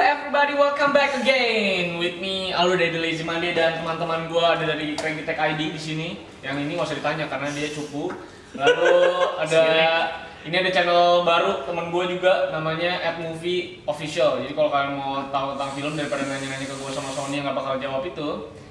everybody, welcome back again with me Aldo dari The Lazy Monday dan teman-teman gua ada dari Cranky Tech ID di sini. Yang ini nggak usah ditanya karena dia cupu. Lalu ada ini ada channel baru teman gua juga namanya Ad Movie Official. Jadi kalau kalian mau tahu tentang film daripada nanya-nanya ke gua sama Sony yang nggak bakal jawab itu,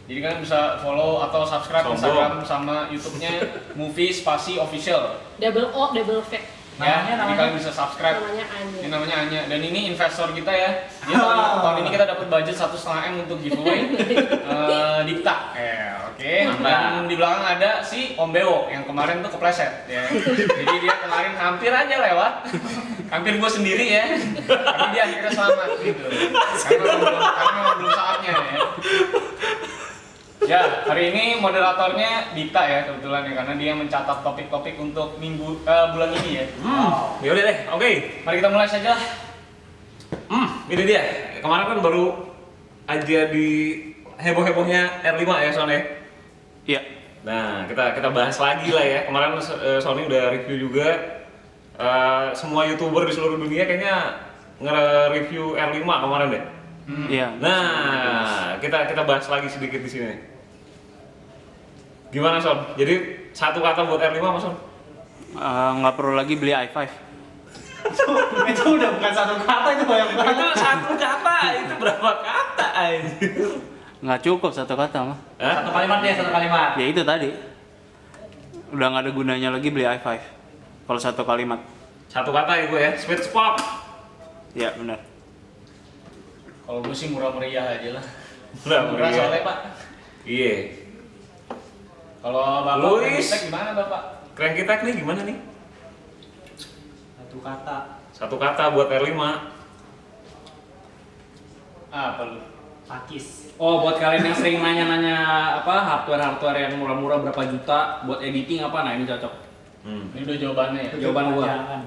jadi kalian bisa follow atau subscribe Sombong. Instagram sama YouTube-nya Movie Spasi Official. double O double V Ya, Namanya- jadi namanya? kalian bisa subscribe. namanya ya. Ini Anya namanya Anya dan ini investor kita ya. Dia tahun, tahun ini kita dapat budget satu setengah m untuk giveaway eh Dipta. Eh, oke. Dan di belakang ada si Om Bewo yang kemarin tuh kepleset. Ya. Jadi dia kemarin hampir aja lewat, hampir gue sendiri ya. Tapi dia akhirnya selamat gitu. Karena memang belum, karena memang belum saatnya ya. Ya, hari ini moderatornya Dita ya kebetulan ya karena dia mencatat topik-topik untuk minggu eh, bulan ini ya. Hmm, ya udah deh. Oke. Mari kita mulai saja. lah. Hmm, ini dia. Kemarin kan baru aja di heboh-hebohnya R5 ya soalnya. Iya. Nah, kita kita bahas lagi lah ya. Kemarin eh, Sony udah review juga eh, semua YouTuber di seluruh dunia kayaknya nge-review R5 kemarin deh. Iya. Nah, kita kita bahas lagi sedikit di sini. Gimana, Son? Jadi satu kata buat R5 Mas Son? Eh, nggak perlu lagi beli i5. itu udah bukan satu kata itu banyak banget Itu satu kata, itu berapa kata anjir? Nggak cukup satu kata mah. Hah? satu kalimat deh satu kalimat Ya itu tadi. Udah nggak ada gunanya lagi beli i5. Kalau satu kalimat. Satu kata ya gue ya, sweet spot. Ya benar. Kalau gue sih murah meriah aja lah. Murah murah meriah. soalnya pak. Iya. Kalau bapak Luis. Luis. gimana bapak? Keren kita nih gimana nih? satu kata Satu kata buat R5. Ah, apa lu? pakis Oh, buat kalian yang sering nanya-nanya apa hardware-hardware yang murah-murah berapa juta buat editing apa, nah ini cocok. Hmm. Ini udah jawabannya ya. Jawaban gua. Jangan.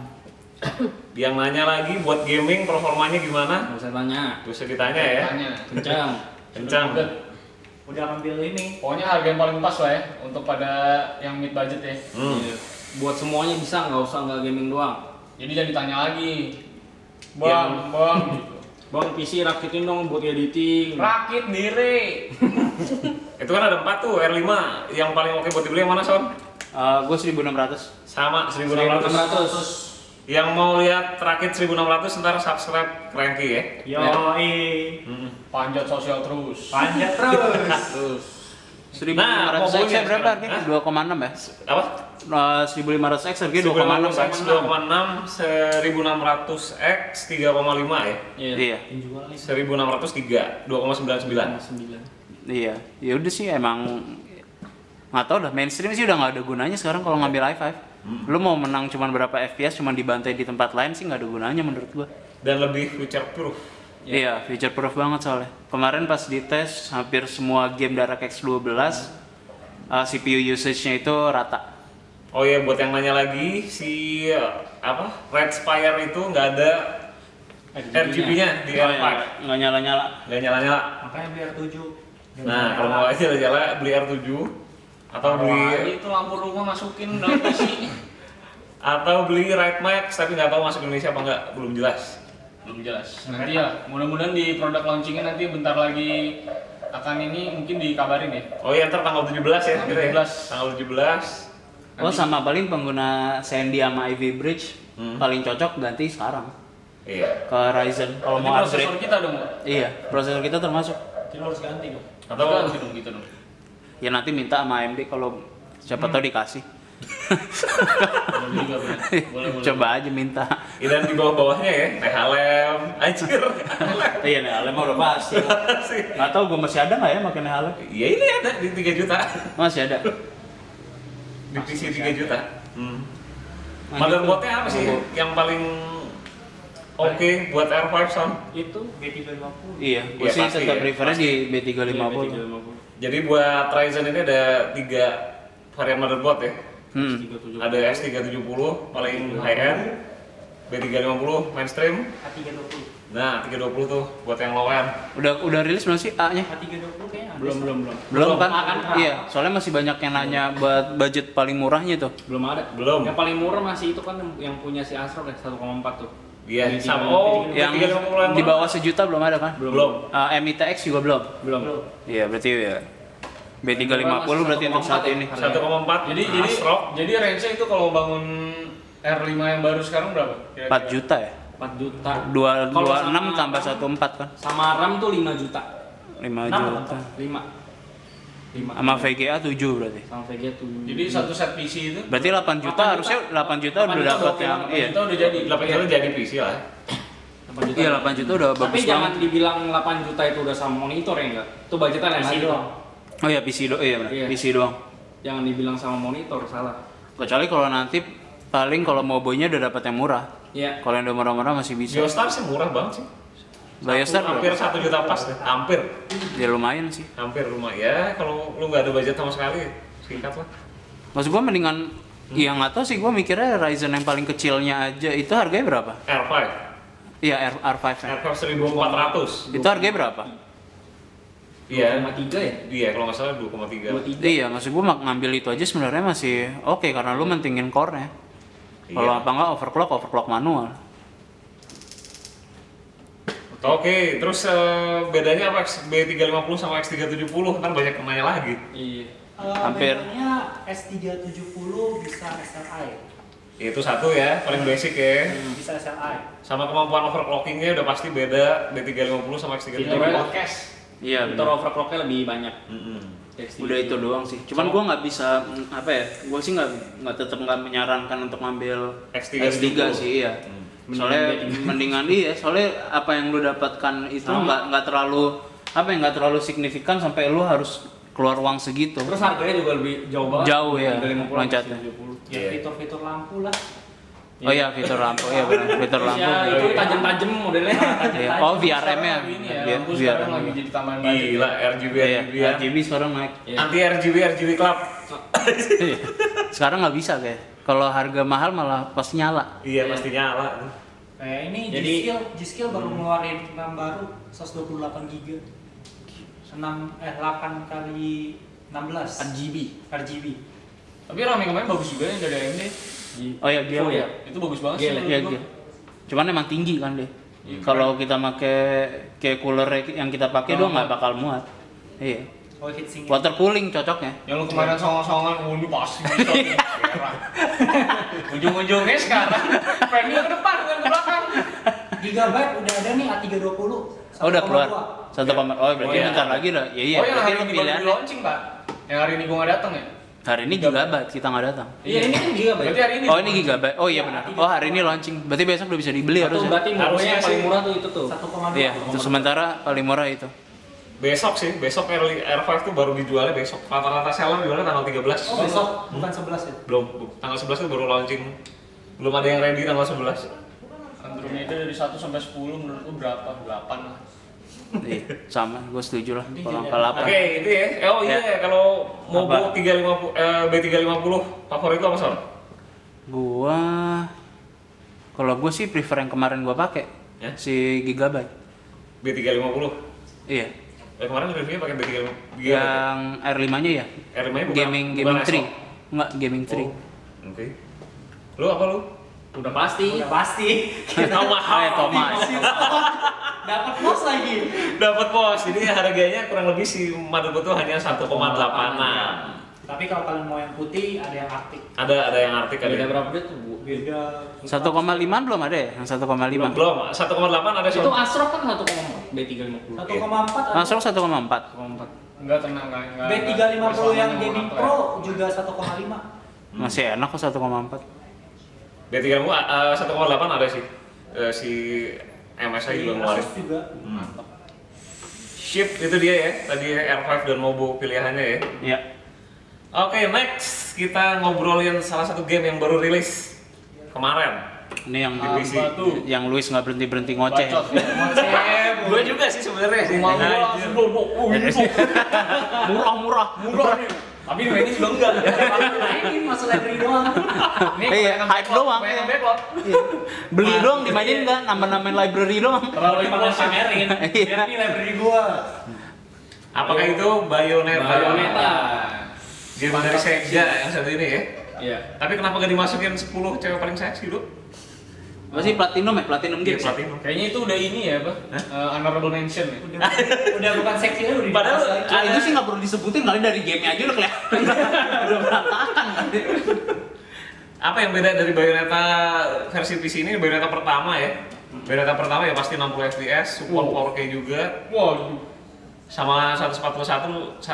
Yang nanya lagi buat gaming performanya gimana? Nggak usah tanya, Gak usah ditanya Eh? ya. Tanya. kencang. Kencang. Udah. udah ngambil ini Pokoknya harga yang paling pas lah ya untuk pada yang mid budget ya. Hmm. Iya. Buat semuanya bisa, nggak usah nggak gaming doang. Jadi jangan ditanya lagi. Bang, Yang- bang. gitu. Bang PC rakitin dong buat editing. Rakit diri. Itu kan ada empat tuh R5 yang paling oke buat dibeli yang mana Son? Eh gue 1600. Sama 1600. 600. Yang mau lihat rakit 1600 ntar subscribe Cranky ya. yoi Hmm. Panjat sosial terus. panjat terus 1500 Nah, mau X punya sekarang? berapa harganya? Hah? 2,6 ya. Apa? Eh, 1500 X harganya 2,6 ya. 2,6 1600X 3,5 ya. Iya. Iya. Dijual nih. 1603 2,99. 9. Iya. Ya udah sih emang nggak tau dah mainstream sih udah nggak ada gunanya sekarang kalau ngambil i5. Hmm. Lu mau menang cuman berapa FPS cuman dibantai di tempat lain sih nggak ada gunanya menurut gua. dan lebih future proof. Iya, feature proof banget soalnya. Kemarin pas dites hampir semua game Dark X12 Hmm. uh, CPU usage-nya itu rata. Oh iya buat yang nanya lagi si eh, apa Red Spire itu nggak ada Eh, RGB-nya di Oh, R5. iya, nggak nyala-nyala. Nggak nyala-nyala. makanya beli R7 Nah kalau mau aja nyala beli R7 atau beli Wah, itu lampu rumah masukin dalam PC. atau beli Red Max tapi nggak tahu masuk Indonesia apa nggak belum jelas. Belum jelas. Nanti ya, mudah-mudahan di produk launchingnya nanti bentar lagi akan ini mungkin dikabarin ya. Oh iya ntar tanggal 17 ya Tanggal kira ya. 17. Tanggal 17. Oh sama paling pengguna Sandy sama Ivy Bridge Hmm. paling cocok ganti sekarang Iya. ke Ryzen kalau Nanti mau prosesor upgrade. kita dong. Pak. Iya, prosesor kita termasuk. jadi lo harus ganti dong Atau Atau gitu dong, gitu dong. Ya nanti minta sama AMD kalau siapa tahu dikasih. Hmm. Boleh juga, boleh. Boleh, boleh. Coba aja minta. iya, dan di bawah-bawahnya ya, Nehalem, anjir, iya, nah, Alem udah pasti. sih. Nggak tahu gue masih ada nggak ya makin Alem? Ya ini ada di 3 juta. Masih ada. Di PC 3 juta. Hmm. Nah, Motherboardnya apa sih Motherboard. yang paling oke buat R5 Son? Itu B350 Iya, gue Iya, sih pasti tetap ya, prefernya di B350. Jadi buat Ryzen ini ada tiga varian motherboard ya. Hmm. 370. Ada S370 paling high end, B350 mainstream. A320 Nah, 320 tuh buat yang low end. Udah udah rilis belum sih A-nya? A320 kayaknya habis. Belum, belum, belum. Belum kan? A kan? Iya, soalnya masih banyak yang nanya buat budget paling murahnya tuh. Belum ada. Belum. Yang paling murah masih itu kan yang punya si Asrof ya 1,4 tuh. Iya, Editing, sama oh, editing. yang tiga sama bulan di bawah sejuta belum ada kan? belum. belum. Eh, MITX juga belum. belum. Iya, berarti ya. B350 berarti untuk saat ini. 1,4 Jadi jadi Asrock. jadi range-nya itu kalau bangun R5 yang baru sekarang berapa? 4 juta ya? 4 juta. Dua Kalau dua sama enam tambah RAM- satu empat kan? Sama RAM tuh 5 juta. 5 Enam juta. 5. 5. Sama VGA 7 berarti. sama VG tuh. Jadi satu set PC itu Berarti 8 juta 8 harusnya juta. 8 juta 8 udah juta dapat oke, yang 8 iya. kita udah jadi. 8 Eh, juta jadi PC lah. 8 juta. Iya 8 juta udah Tapi bagus jangan banget. dibilang 8 juta itu udah sama monitor ya enggak? Itu budgetan yang Masih lagi. doang. Oh iya PC doang, iya benar. Iya. PC doang. Jangan dibilang sama monitor salah. Kecuali kalau nanti paling kalau mobonya udah dapat yang murah. Iya. Kalau yang udah murah-murah masih bisa. Geostar sih murah banget sih. Nah, Biostar hampir berapa? 1 juta pas deh. Hampir. ya lumayan sih. Hampir rumah ya kalau lu nggak ada budget sama sekali singkat lah. Maksud gua mendingan Ya nggak tahu sih, gua mikirnya Ryzen yang paling kecilnya aja itu harganya berapa? R5. Iya R R5 -nya. R5 1400. Itu harganya berapa? Iya. 2,3 ya? Iya, kalau nggak salah 2,3. 23. Iya, maksud gua mak- ngambil itu aja sebenarnya masih oke karena lu mentingin core-nya. Kalau Iya. apa nggak overclock, overclock manual. Oke, terus eh, bedanya apa X- B350 sama X370? Ntar Kan banyak yang nanya lagi. Iya. Eh, Hampir. bedanya S370 bisa SLI. Itu satu ya, paling basic ya. Hmm. Bisa SLI. Sama kemampuan overclockingnya udah pasti beda B350 sama Kita X370. podcast. Iya, Monitor overclocknya lebih banyak. Mm-mm. Dari udah itu doang sih cuman gua nggak bisa mm, apa ya gua sih nggak nggak tetap nggak menyarankan untuk ngambil X3 X3 gitu. sih iya Hmm. soalnya mendingan iya soalnya apa yang lu dapatkan itu nggak nggak terlalu apa yang nggak terlalu signifikan sampai lu harus keluar uang segitu Terus harganya juga lebih jauh banget. Jauh ya, 350, loncatnya. 70. Iya. Ya fitur-fitur lampu lah. oh iya fitur lampu iya benar fitur Terus lampu ya itu tajam-tajam modelnya. Iya. oh VRM nya Ini ya, Iya, lampu VRM sekarang lagi -nya. jadi tambahan budget. Gila, RGB, Iya, RGB ya. RGB sekarang naik Iya. Anti RGB, RGB Club. Iya. sekarang nggak bisa kayak kalau harga mahal malah pas nyala Iya, pasti nyala. Kayak ini Jadi- Hmm. G-Skill, G-Skill baru ngeluarin RAM baru 128 GB. 6 eh 8 kali 16 RGB. RGB. Tapi rame kemarin bagus juga yang dari AMD. oh iya dia Oh iya. Itu bagus banget Gila, menurut Iya, gua. iya. Cuman emang tinggi kan deh. Kalau kita pakai kayak cooler yang kita pakai Oh. doang nggak bakal muat. Iya. Oh heatsink. Water cooling cocoknya. Yang lu Iya. kemarin songong-songan, oh ini pasti bisa nih, merah." Ujung-ujungnya sekarang, premium ke depan bukan ke belakang. Iya, Oh, Gigabyte udah ada nih A320. Oh, udah keluar. 1,2. Satu kamar. Oh, berarti Oh, iya. bentar lagi udah. Iya, iya. oh yang berarti hari lu ini baru pilihan. di launching pak? Yang hari ini gua nggak datang ya? Hari ini gigabyte kita nggak datang. Iya, ini kan juga Berarti hari ini. Oh, ini gigabyte. Oh iya benar. Oh, hari ini launching. Berarti besok udah bisa dibeli Itu harusnya. berarti Harusnya harganya yang paling sih. murah tuh itu tuh. 1,2. Iya, untuk sementara paling murah itu. Besok sih, besok R- R5 tuh baru dijualnya besok. Rata-rata seller dijualnya tanggal 13. Oh besok bukan 11 ya. Belum, bu- tanggal 11 itu baru launching. Belum ada yang ready tanggal 11. Andromeda dari 1 sampai 10 menurut lu berapa? 8 lah. Iya, sama. Gue setuju lah. Kalau angka Oke, 8. itu ya. Eh, oh iya, kalau Mobo Apa? 350 eh, B350 favorit lo apa, Son? Gua kalau gue sih prefer yang kemarin gua pakai Ya? si gigabyte. B350. Iya. Eh, kemarin reviewnya pakai B350. yang R5-nya ya? R5 bukan gaming bukan gaming Asrock. 3. Enggak, gaming 3. Oh, Oke. Lu apa lu? Udah pasti. Udah pasti. Toma. Ah, ya, Toma. Dapat pos lagi. Dapat pos. Jadi harganya kurang lebih si motherboard tuh hanya 1,86. Tapi kalau kalian mau yang putih ada yang Arctic. Ada ada yang ya? artik ada. Beda yang- berapa dia tuh? Bu? Beda 1,5 belum ada ya? Yang 1,5. Belum, 1,8 ada Itu Son. Asrock kan 1,4 B350. 1,4 ada. Langsung 1,4. 1,4. Enggak tenang, enggak. enggak- B350 enggak. yang Personanya gaming mau ngapain. pro juga 1,5. Masih enak kok 1,4. B350 eh, 1,8 ada sih. Eh, si MSI juga ngeluarin. Iya, Asus juga. Hmm. Shift itu dia ya, tadi R5 dan Mobo pilihannya ya. Iya. Oke, next kita ngobrolin salah satu game yang baru rilis kemarin. Ini yang Di PC. Apa tuh? yang Luis nggak berhenti berhenti ngoceh. Bacot. Ngoceh. Gue Eh, juga sih sebenarnya sih. Nah, Rumah gua iya. Anjir. langsung bobok. Oh, ini tuh. Murah murah. Murah nih. Tapi mainnya juga enggak. Nah ini masuk library doang. Ini Iya, kebanyakan hype backlog, doang. kebanyakan backlog. Beli doang dimainin nggak? Nambah-nambahin library doang. Terlalu impulsif. pamerin. Iya. Ini library gua. Apakah itu Bayonetta? Iya. Bayonetta. Game dari Sega yang satu ini ya. Iya. Tapi kenapa gak dimasukin 10 cewek paling seksi, Dok? Apa sih platinum ya? Platinum Iya, games. ya? platinum. Kayaknya itu udah ini ya, apa? Eh, honorable mention ya. udah udah bukan seksinya udah Padahal dibahas lagi. Cuma Nah, itu sih nggak perlu disebutin kali dari gamenya aja udah kelihatan udah berantakan kali. Apa yang beda dari Bayonetta versi PC ini? Bayonetta pertama ya. Bayonetta pertama ya pasti 60 fps, support 4K juga. Waduh. Sama 141 141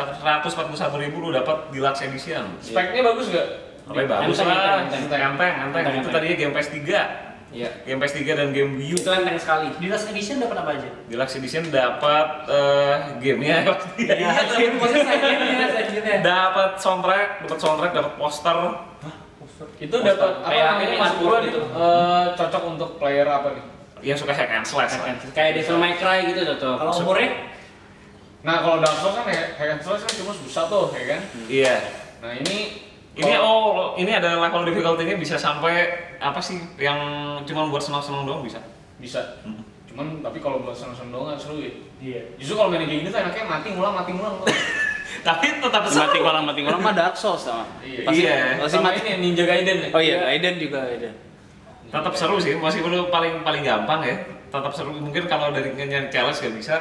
ribu lu dapat deluxe edition. Speknya bagus gak? Apa bagus Enteng, lah, enteng, enteng. enteng, enteng. Enteng, Itu enteng. tadinya Game PS 3, Iya. Game PS 3 dan Game Wii U. Itu enteng sekali. di last edition dapat apa aja Deluxe edition dapat eh, gamenya pasti. Iya, game proses iya, akhirnya akhirnya. dapat soundtrack, dapat soundtrack, dapat poster. Itu dapat apa Kayak namanya ini maksud password gua gitu. itu Eh, cocok untuk player apa nih? yang suka hack and slash lah. Kayak Devil May Cry gitu cocok. kalau umurnya Nah kalau Dark Souls kan ya, hack and slash kan cuma susah tuh, ya kan? Iya. Nah ini Ini kalau- oh, ini ada level difficulty-nya bisa sampai apa sih yang cuma buat senang-senang doang bisa. bisa. Hmm. Cuman tapi kalau buat seneng-seneng doang nggak seru ya. iya Justru kalau main game ini tuh enaknya mati ngulang, mati ngulang. tuh. Tapi tetap Mati seru. kolam mati kolam mah Dark Souls sama. Iya. Pasti- Iya. Pasti Sama mati. ini Ninja Gaiden ya. Oh iya, Aiden juga Aiden. Tetap seru sih, masih perlu paling paling gampang ya. Tetap seru. Mungkin kalau dari nyari challenge gak bisa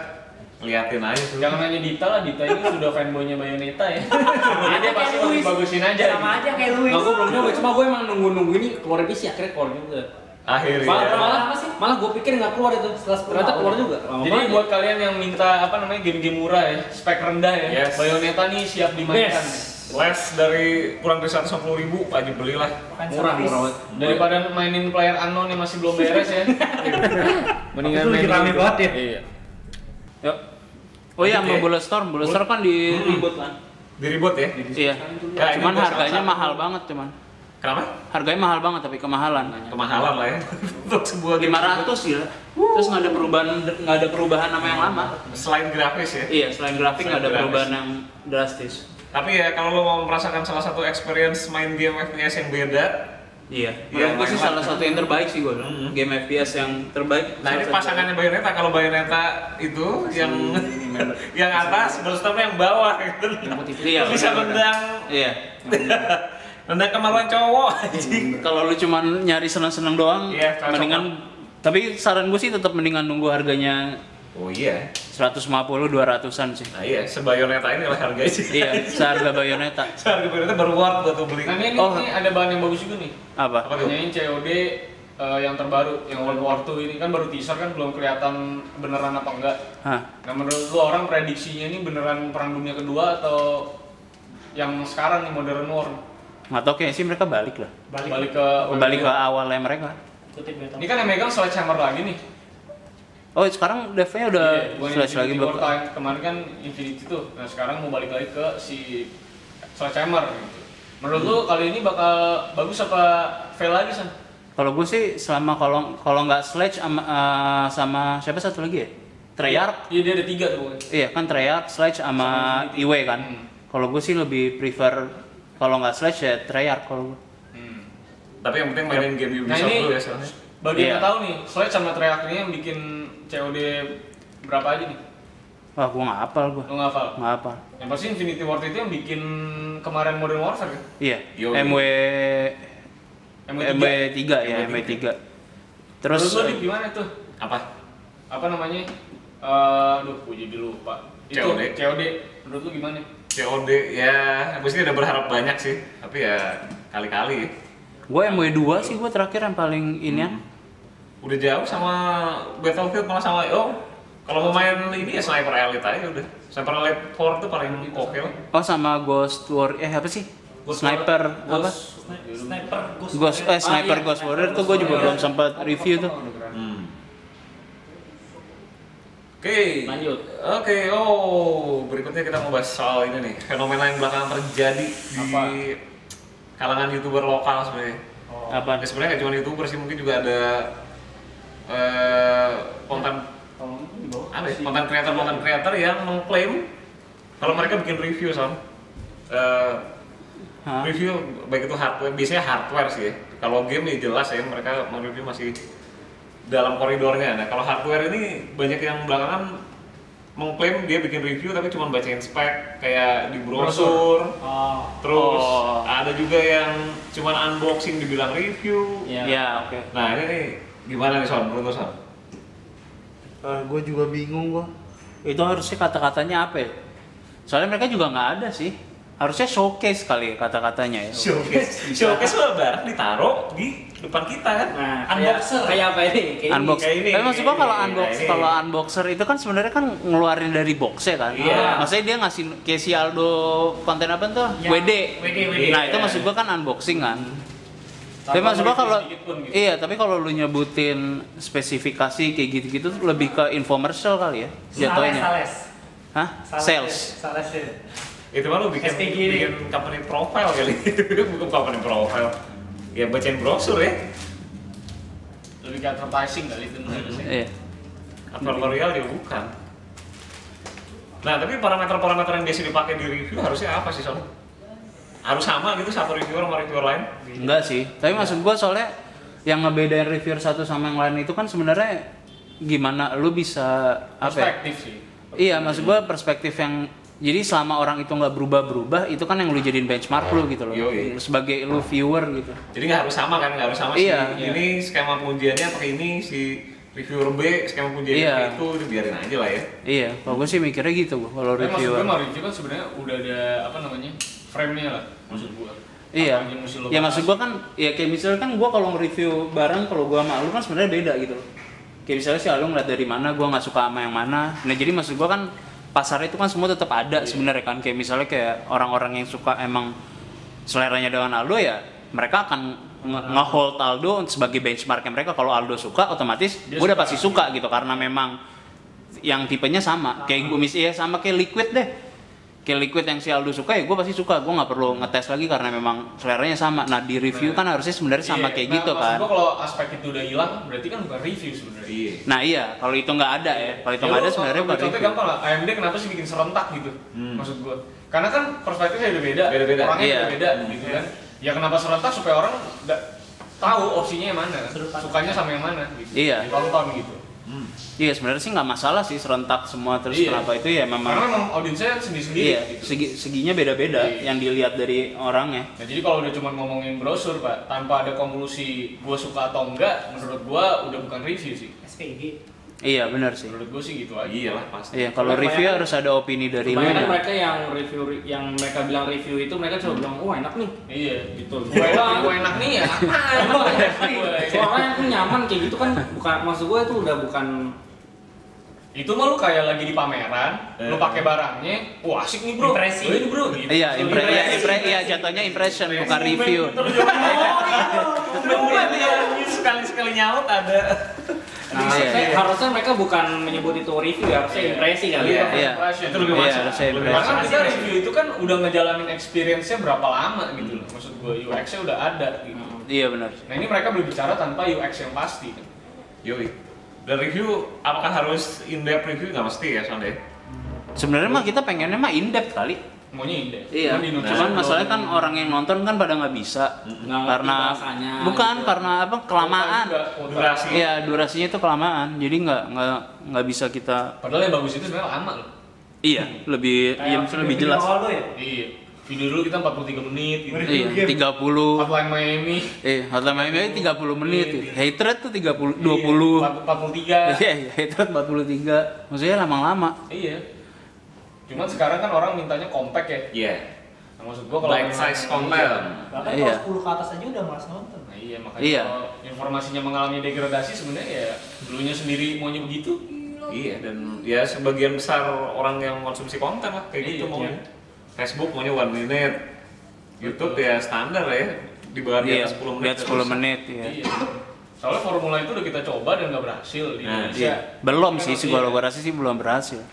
liatin aja tuh. Jangan nanya Dita lah, Dita ini sudah fanboynya Bayonetta ya. Jadi dia Kayak pasti mau Luis. dibagusin aja. gitu. sama aja kayak Louis Nah, gue belum nyoba, cuma gue emang nunggu-nunggu ini keluar PC akhirnya keluar juga. Akhirnya. Malah, malah, Apa sih? malah gue pikir nggak keluar itu, Setelah sepuluh ternyata tahun. keluar juga. Lama Jadi banget. buat kalian yang minta apa namanya game-game murah ya, spek rendah ya, Yes. Bayonetta nih siap dimainkan. best, Les dari kurang dari 150 ribu aja belilah. Bukan murah service. murah banget. Daripada mainin player unknown yang masih belum beres ya. Mendingan main rame banget ya. Yuk. Oh iya, Lanjut sama ya. Bullet Storm. Bullet Storm kan di Ribut kan. Di ribut ya. Iya. Hmm. Ya, ini Cuman gua harganya salah satu. mahal banget cuman. Kenapa? Harganya mahal banget tapi kemahalan. Kemahalan lah ya. Untuk sebuah game. 500 gila. ya. Terus nggak ada perubahan nggak ada perubahan nama yang lama. Selain grafis ya. Iya, selain grafik Selain nggak ada grafis. perubahan yang drastis. Tapi ya kalau lo mau merasakan salah satu experience main game FPS yang beda, Iya. Iya, Menurut gue sih main-main. salah satu yang terbaik sih gue. Game FPS yang terbaik. nah ini salah satu. pasangannya Bayonetta kalau Bayonetta itu yang yang atas berserta yang bawah gitu. Iya, Lo bisa benar-benar. nendang Iya. nendang kemaluan cowok anjing. Kalau lu cuman nyari seneng-seneng doang, Iya, cocok mendingan tapi saran gue sih tetap mendingan nunggu harganya Oh iya. 150 200-an sih. Nah iya, sebayoneta ini lah harganya sih. iya, seharga Bayonetta. Harga Bayonetta baru worth buat lo beli. Nah ini, Oh. ini ada bahan yang bagus juga nih. Apa? Apa tuh? Nanyain COD eh, yang terbaru, yang World War 2 ini kan baru teaser kan belum kelihatan beneran apa enggak. Hah. Nah menurut lu orang prediksinya ini beneran perang dunia kedua atau yang sekarang nih modern war Nggak tau kayaknya sih mereka balik lah. balik, balik ke Balik ke awalnya mereka. kutip beta ini kan yang megang sledgehammer lagi nih Oh, sekarang devnya udah bukan slash lagi Iya, Infinity belum. War time. kemarin kan Infinity tuh nah sekarang mau balik lagi ke si sledgehammer gitu. menurut Hmm. lu kali ini bakal bagus apa fail lagi san Kalau gue sih selama kalau kalau nggak sledge sama, eh, sama siapa satu lagi ya? Treyarch. iya dia ada tiga tuh pokoknya Iya kan Treyarch, Sledge sama Sama Iwe kan. Hmm. Kalau gue sih lebih prefer kalau nggak Sledge ya Treyarch kalau gue. Hmm. Tapi yang penting mainin game Nah, Ubisoft ini- dulu ya soalnya. bagi yang Iya. nggak tahu nih sledge sama Treyarch ini yang bikin COD berapa aja nih Wah gue nggak apal gue, lu nggak hafal nggak apal. yang pasti Infinity War itu yang bikin kemarin Modern Warfare kan Iya. Yo, MW MW3. MW 3 ya MW 3. Eh, Terus Menurut lu di gimana tuh? Apa? Apa namanya? Eh, aduh, gue jadi lupa. Itu COD. COD. Menurut lu gimana? COD ya, habis ini udah berharap banyak sih. Tapi ya kali-kali ya. gue MW 2 sih gue terakhir yang paling ini ya. udah jauh sama Battlefield malah sama oh kalau mau main ini ya sniper elite aja udah sniper elite 4 tuh paling oke lah Oh sama Ghost War eh apa sih? Ghost Sniper apa? Sni- sniper ghost, Ghost eh Sniper iya, Ghost Sniper Warrior tuh Ghost gue juga Warrior. belum sempat review tuh. hmm. oke Lanjut. oke oh berikutnya kita mau bahas soal ini nih fenomena yang belakangan terjadi di Apa? kalangan youtuber lokal sebenarnya Apa? ya, sebenarnya nggak cuma youtuber sih mungkin juga ada eh konten tolong di bawah apa ya, konten creator konten creator yang mengklaim kalau mereka bikin review son Eh, Hah? review baik itu hardware biasanya hardware sih ya. kalau game ya jelas ya mereka mereview masih dalam koridornya nah kalau hardware ini banyak yang belakangan mengklaim dia bikin review tapi cuma bacain spek kayak di brosur oh terus Oh. ada juga yang cuma unboxing dibilang review Iya. Ya oke. nah ini nih Gimana nih Son? Menurut lo Son? gue juga bingung gue. Itu harusnya kata-katanya apa ya? Soalnya mereka juga nggak ada sih. Harusnya showcase kali ya kata-katanya ya. Showcase. Showcase lo barang ditaruh di depan kita kan. Nah, Unboxer. kayak, kayak apa ini? Kayak Unbox. kayak ini, Tapi maksud gua kalau kayak unbox ini. kalau unboxer itu kan sebenarnya kan ngeluarin dari boxnya kan. Iya. Maksudnya dia ngasih kayak si Aldo konten apa tuh? Ya, WD. WD, WD, Nah, itu ya. maksud gua kan unboxing kan. Tanpa tapi maksud gua mereview kalau sedikit pun gitu. iya, tapi kalau lu nyebutin spesifikasi kayak gitu-gitu tuh lebih ke infomercial kali ya Sales, jatuhnya. sales. Hah? Sales. Sales ya. Itu mah lo bikin, SPG. bikin company profile kali. Bukan company profile. Ya bacain brosur ya. lebih ke advertising kali itu harusnya. Iya. Hmm. Atau L'Oreal juga bukan. Nah, tapi parameter-parameter yang biasa dipakai di review harusnya apa sih Son? Harus sama gitu satu reviewer sama reviewer lain? Enggak sih. Tapi maksud gua soalnya yang ngebedain reviewer satu sama yang lain itu kan sebenarnya gimana lu bisa apa ya? Perspektif sih. Iya, maksud gua perspektif yang jadi selama orang itu nggak berubah-berubah itu kan yang lu jadiin benchmark lu gitu loh. Yoi. Sebagai lu viewer gitu. Jadi nggak harus sama kan, nggak harus sama Iya. si ini skema pengujiannya pakai ini, si reviewer B skema pengujiannya Iya. pakai itu, itu biarin aja lah ya. Iya, kalau gue sih mikirnya gitu gua kalau Tapi maksud reviewer. gue mah review kan sebenarnya udah ada apa namanya frame-nya lah maksud gue. Iya. Apa aja yang mesti lo Ya bahas. maksud gua kan ya kayak misalnya kan gua kalau nge-review barang kalau gua sama lu kan sebenarnya beda gitu loh. Kayak misalnya sih lu ngeliat dari mana, gua nggak suka sama yang mana. Nah, jadi maksud gua kan pasar itu kan semua tetap Iya. ada sebenarnya kan. Kayak misalnya kayak orang-orang yang suka emang seleranya dengan Aldo ya, mereka akan nge- Iya. nge-hold Aldo sebagai benchmarknya mereka kalau Aldo suka otomatis Dia gua udah suka. pasti suka gitu karena memang yang tipenya sama kayak gue mis ya sama kayak liquid deh kayak liquid yang si Aldo suka ya gue pasti suka gue nggak perlu ngetes lagi karena memang seleranya sama nah di review kan harusnya sebenarnya sama Iya. kayak Nah, gitu maksud kan gua kalau aspek itu udah hilang berarti kan bukan review sebenarnya. Iya. nah iya kalau itu nggak ada ya kalau itu nggak ada sebenarnya bukan Contohnya review gampang lah, AMD kenapa sih bikin serentak gitu? Hmm. Maksud gua. Karena kan perspektifnya udah beda, Beda-beda. orangnya Iya. udah beda gitu kan. Ya kenapa serentak supaya orang nggak tahu opsinya yang mana, Sudut pandang. sukanya sama yang mana gitu. Iya. Ditonton gitu. Hmm. iya sebenarnya sih nggak masalah sih serentak semua terus Iya. kenapa itu ya Karena memang memang audiensnya sendiri-sendiri iya gitu. segi, seginya beda-beda Iya. yang dilihat dari orangnya Nah, jadi kalau udah cuma ngomongin brosur, Pak, tanpa ada konklusi gua suka atau enggak, menurut gua udah bukan review sih. SPG. iya benar sih Menurut gua sih gitu aja. Iya lah pasti. iya kalau review Kebanyakan- harus ada opini dari lu Kebanyakan ya. mereka yang review yang mereka bilang review itu mereka coba bilang, "Wah, enak nih." Iya. Gitu. Gua enak, gua enak nih ya. Emang enak nih. Gua enak. Soalnya aku nyaman kayak gitu kan bukan maksud gue itu udah bukan itu mah lu kayak lagi di pameran, lu Eh. pakai barangnya, wah asik nih bro, Impresi. Oh, ini bro, gitu. Iya, Terus impre iya, impresi. impre iya, jatuhnya impression Impresi. bukan review. Oh, Terus dia ngomong, iya. ya. Sekali-sekali nyaut ada. Iya, nah, harusnya- iya. harusnya mereka bukan menyebut itu review ya, harusnya Iya. impresi kali ya. Iya. impression. Itu lebih Iya, masuk. harusnya Lebih impresi. Karena masuk. kita review itu kan udah ngejalanin experience-nya berapa lama gitu loh. Maksud gua UX-nya udah ada gitu. Iya benar. Nah ini mereka berbicara tanpa UX yang pasti. kan. Yoi. Dan review, apakah harus in-depth review? Nggak mesti ya, Son deh. Sebenarnya mah kita pengennya mah in depth kali. Maunya indah. Iya. Cuman di Indonesia Cuman belum. masalahnya kan orang yang nonton kan pada nggak bisa Nah, Nggak ngerti karena bahasanya bukan gitu. karena apa kelamaan. Kota juga, kota. Durasi. Iya durasinya itu kelamaan. Jadi nggak nggak nggak bisa kita. Padahal yang bagus itu sebenarnya lama loh. Iya lebih iya, lebih jelas. Awal lu ya. Iya. Video dulu kita 43 menit gitu. Iya 30 Hotline Miami. Eh, Hotline Miami 30 menit. Iya, iya. Hatred tuh 30 Iya, 20. 43. Iya, iya, hatred 43. Maksudnya lama-lama. Iya. Cuman sekarang kan orang mintanya compact ya. Iya. Nah, maksud gua kalau Bite size content. Bahkan Iya. kalau 10 ke atas aja udah malas nonton. Nah, iya makanya Iya. kalau informasinya mengalami degradasi sebenarnya ya dulunya sendiri maunya begitu. Iya dan ya sebagian besar orang yang konsumsi konten lah kayak Iya, gitu maunya. iya. Facebook maunya one minute, YouTube ya standar lah ya di bawah di Iya, atas 10 menit. lihat 10 menit ya. Iya. Soalnya formula itu udah kita coba dan nggak berhasil di Nah, Indonesia. Iya. Belum sih, sih gua Iya. gua rasa sih belum berhasil.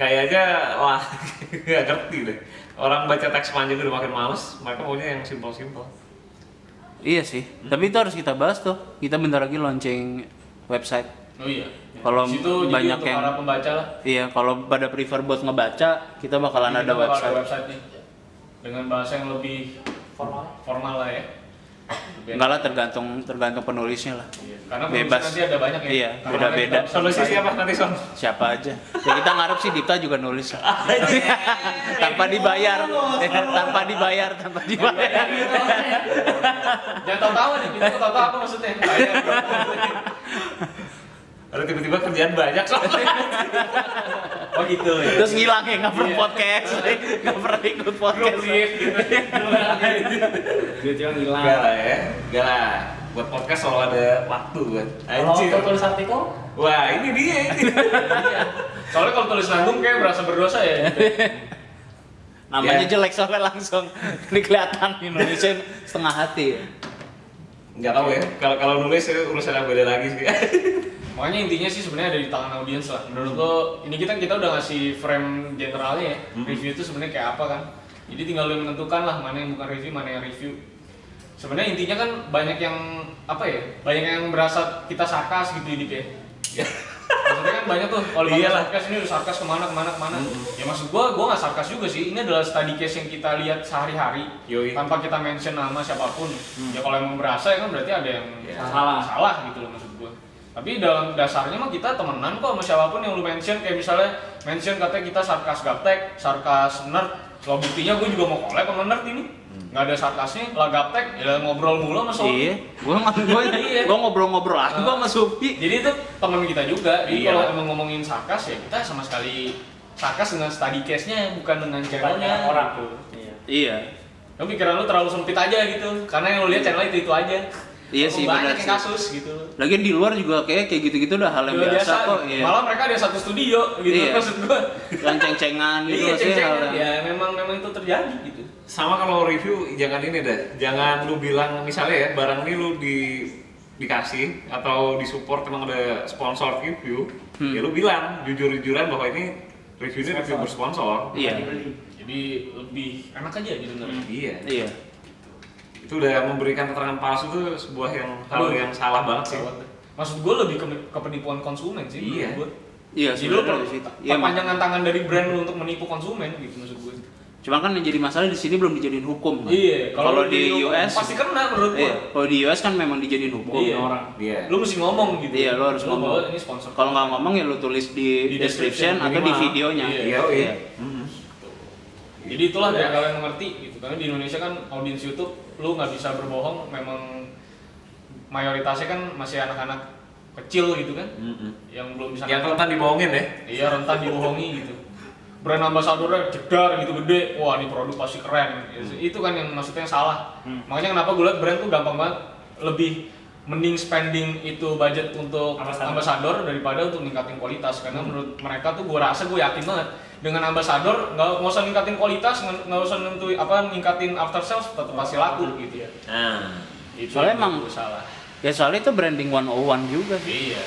Kayaknya wah nggak ngerti deh. Orang baca teks panjang udah makin males, mereka maunya yang simpel-simpel. Iya sih. Tapi itu harus kita bahas tuh. Kita bentar lagi launching website. Oh iya. Kalau Di situ banyak jadi untuk yang- para pembaca lah. Iya, kalau pada prefer buat ngebaca, kita bakalan Jadi Iya, ada bakal website. website-nya. Dengan bahasa yang lebih Formal. formal lah ya. Enggak lah tergantung tergantung penulisnya lah. Iya, Karena Bebas. bebas. nanti ada banyak ya. Iya, Karena beda-beda. nanti Solusi siapa nanti son? Siapa aja. Ya kita ngarep sih Dipta juga nulis lah. tanpa dibayar, tanpa dibayar, tanpa dibayar. Jangan tahu-tahu nih, kita tahu tahu apa maksudnya. gitu. Bayar. Ada tiba-tiba kerjaan banyak soalnya. Oh gitu ya. Terus ngilang ya, nggak pernah podcast, nggak pernah ikut podcast. Duitnya hilang. Enggak lah ya, enggak lah. Buat podcast soal ada waktu kan. Kalau Oh, Anjir. untuk tulis artikel, Wah ini dia ini. Soalnya kalau tulis nanggung kayak berasa berdosa ya. Namanya Ya. jelek soalnya langsung ini kelihatan Indonesia setengah hati. ya. Enggak tahu ya. Kalau kalau nulis itu urusan yang beda lagi sih. Makanya intinya sih sebenarnya ada di tangan audiens lah. Menurut Hmm. lo, ini kita kita udah ngasih frame generalnya ya. Hmm. Review itu sebenarnya kayak apa kan? Jadi tinggal lo yang menentukan lah mana yang bukan review, mana yang review. Sebenarnya intinya kan banyak yang apa ya? Banyak yang berasa kita sarkas gitu hidup ya. Maksudnya kan banyak tuh kalau Iya iya lah. Hmm. sarkas ini udah sarkas kemana kemana kemana. Ya maksud gua, gua nggak sarkas juga sih. Ini adalah study case yang kita lihat sehari-hari Yoi. Hmm. tanpa kita mention nama siapapun. Ya kalau emang berasa ya kan berarti ada yang Ya. Salah. salah gitu loh maksud gua tapi dalam dasarnya mah kita temenan kok sama siapapun yang lu mention kayak misalnya mention katanya kita sarkas gaptek sarkas nerd soal buktinya gue juga mau collab sama nerd ini nggak ada sarkasnya lah gaptek ya ngobrol mulu sama Sobi. Hmm. Iya, gua ng- gua Iya. gua ngobrol-ngobrol aja gua sama Supi. jadi itu teman kita juga jadi Iya. kalau emang ngomongin sarkas ya kita sama sekali sarkas dengan study case nya bukan dengan banyak channelnya orang. Iya. lu pikiran lu terlalu sempit aja gitu karena yang lu lihat channel itu itu aja Iya sih, banyak yang benar sih. kasus gitu Lagian di luar juga kayak kayak gitu-gitu udah hal yang Luar biasa, kok. gitu. Iya. Malah mereka ada satu studio gitu Iya. maksud gua. Yang ceng-cengan gitu iya, sih hal ceng-cengan. yang- Ya memang memang itu terjadi gitu. Sama kalau review jangan ini deh. Jangan lu bilang misalnya ya barang ini lu di dikasih atau disupport emang ada sponsor review, Hmm. ya lu bilang jujur-jujuran bahwa ini reviewnya review bersponsor. Iya. Jadi lebih enak aja gitu sebenarnya. Iya. Iya. Itu udah memberikan keterangan palsu tuh sebuah yang hal Aduh. yang salah banget sih. Lewat deh. Maksud gua lebih ke, ke penipuan konsumen sih. menurut Iya. gua. Iya, Jadi lu sebenarnya per- di situ. Iya, Mak. perpanjangan tangan dari brand lu untuk menipu konsumen gitu maksud gua. Cuman kan yang jadi masalah di sini belum dijadiin hukum. kan? Iya, Kalau lu di US pasti kena menurut gua. Iya, kalau di US kan memang dijadiin hukum. Iya. orang. Iya. Lu mesti ngomong gitu. Iya, lu harus Lu ngomong. bahwa Ini sponsor. Kalau nggak ngomong ya lu tulis di, Di description, description, atau di minimal. videonya. Iya, oh iya. Mm. Jadi itulah biar kalian mengerti gitu. Karena di Indonesia kan audiens YouTube lu nggak bisa berbohong memang mayoritasnya kan masih anak-anak kecil gitu kan Mm-mm. yang belum bisa Yang rentan dibohongin ya. iya rentan dibohongi gitu brand ambassadornya jedar gitu gede wah ini produk pasti keren Ya, itu kan yang maksudnya yang salah Hmm. makanya kenapa gue liat brand tuh gampang banget lebih mending spending itu budget untuk Ambassador. ambassador daripada untuk ningkatin kualitas karena Hmm. menurut mereka tuh gue rasa gue yakin banget dengan ambassador nggak nggak usah ningkatin kualitas nggak nggak usah nentuin apa ningkatin after sales tetap pasti laku gitu ya Nah. itu Soalnya yang emang- menurut gua salah Ya soalnya itu branding 101 juga sih. iya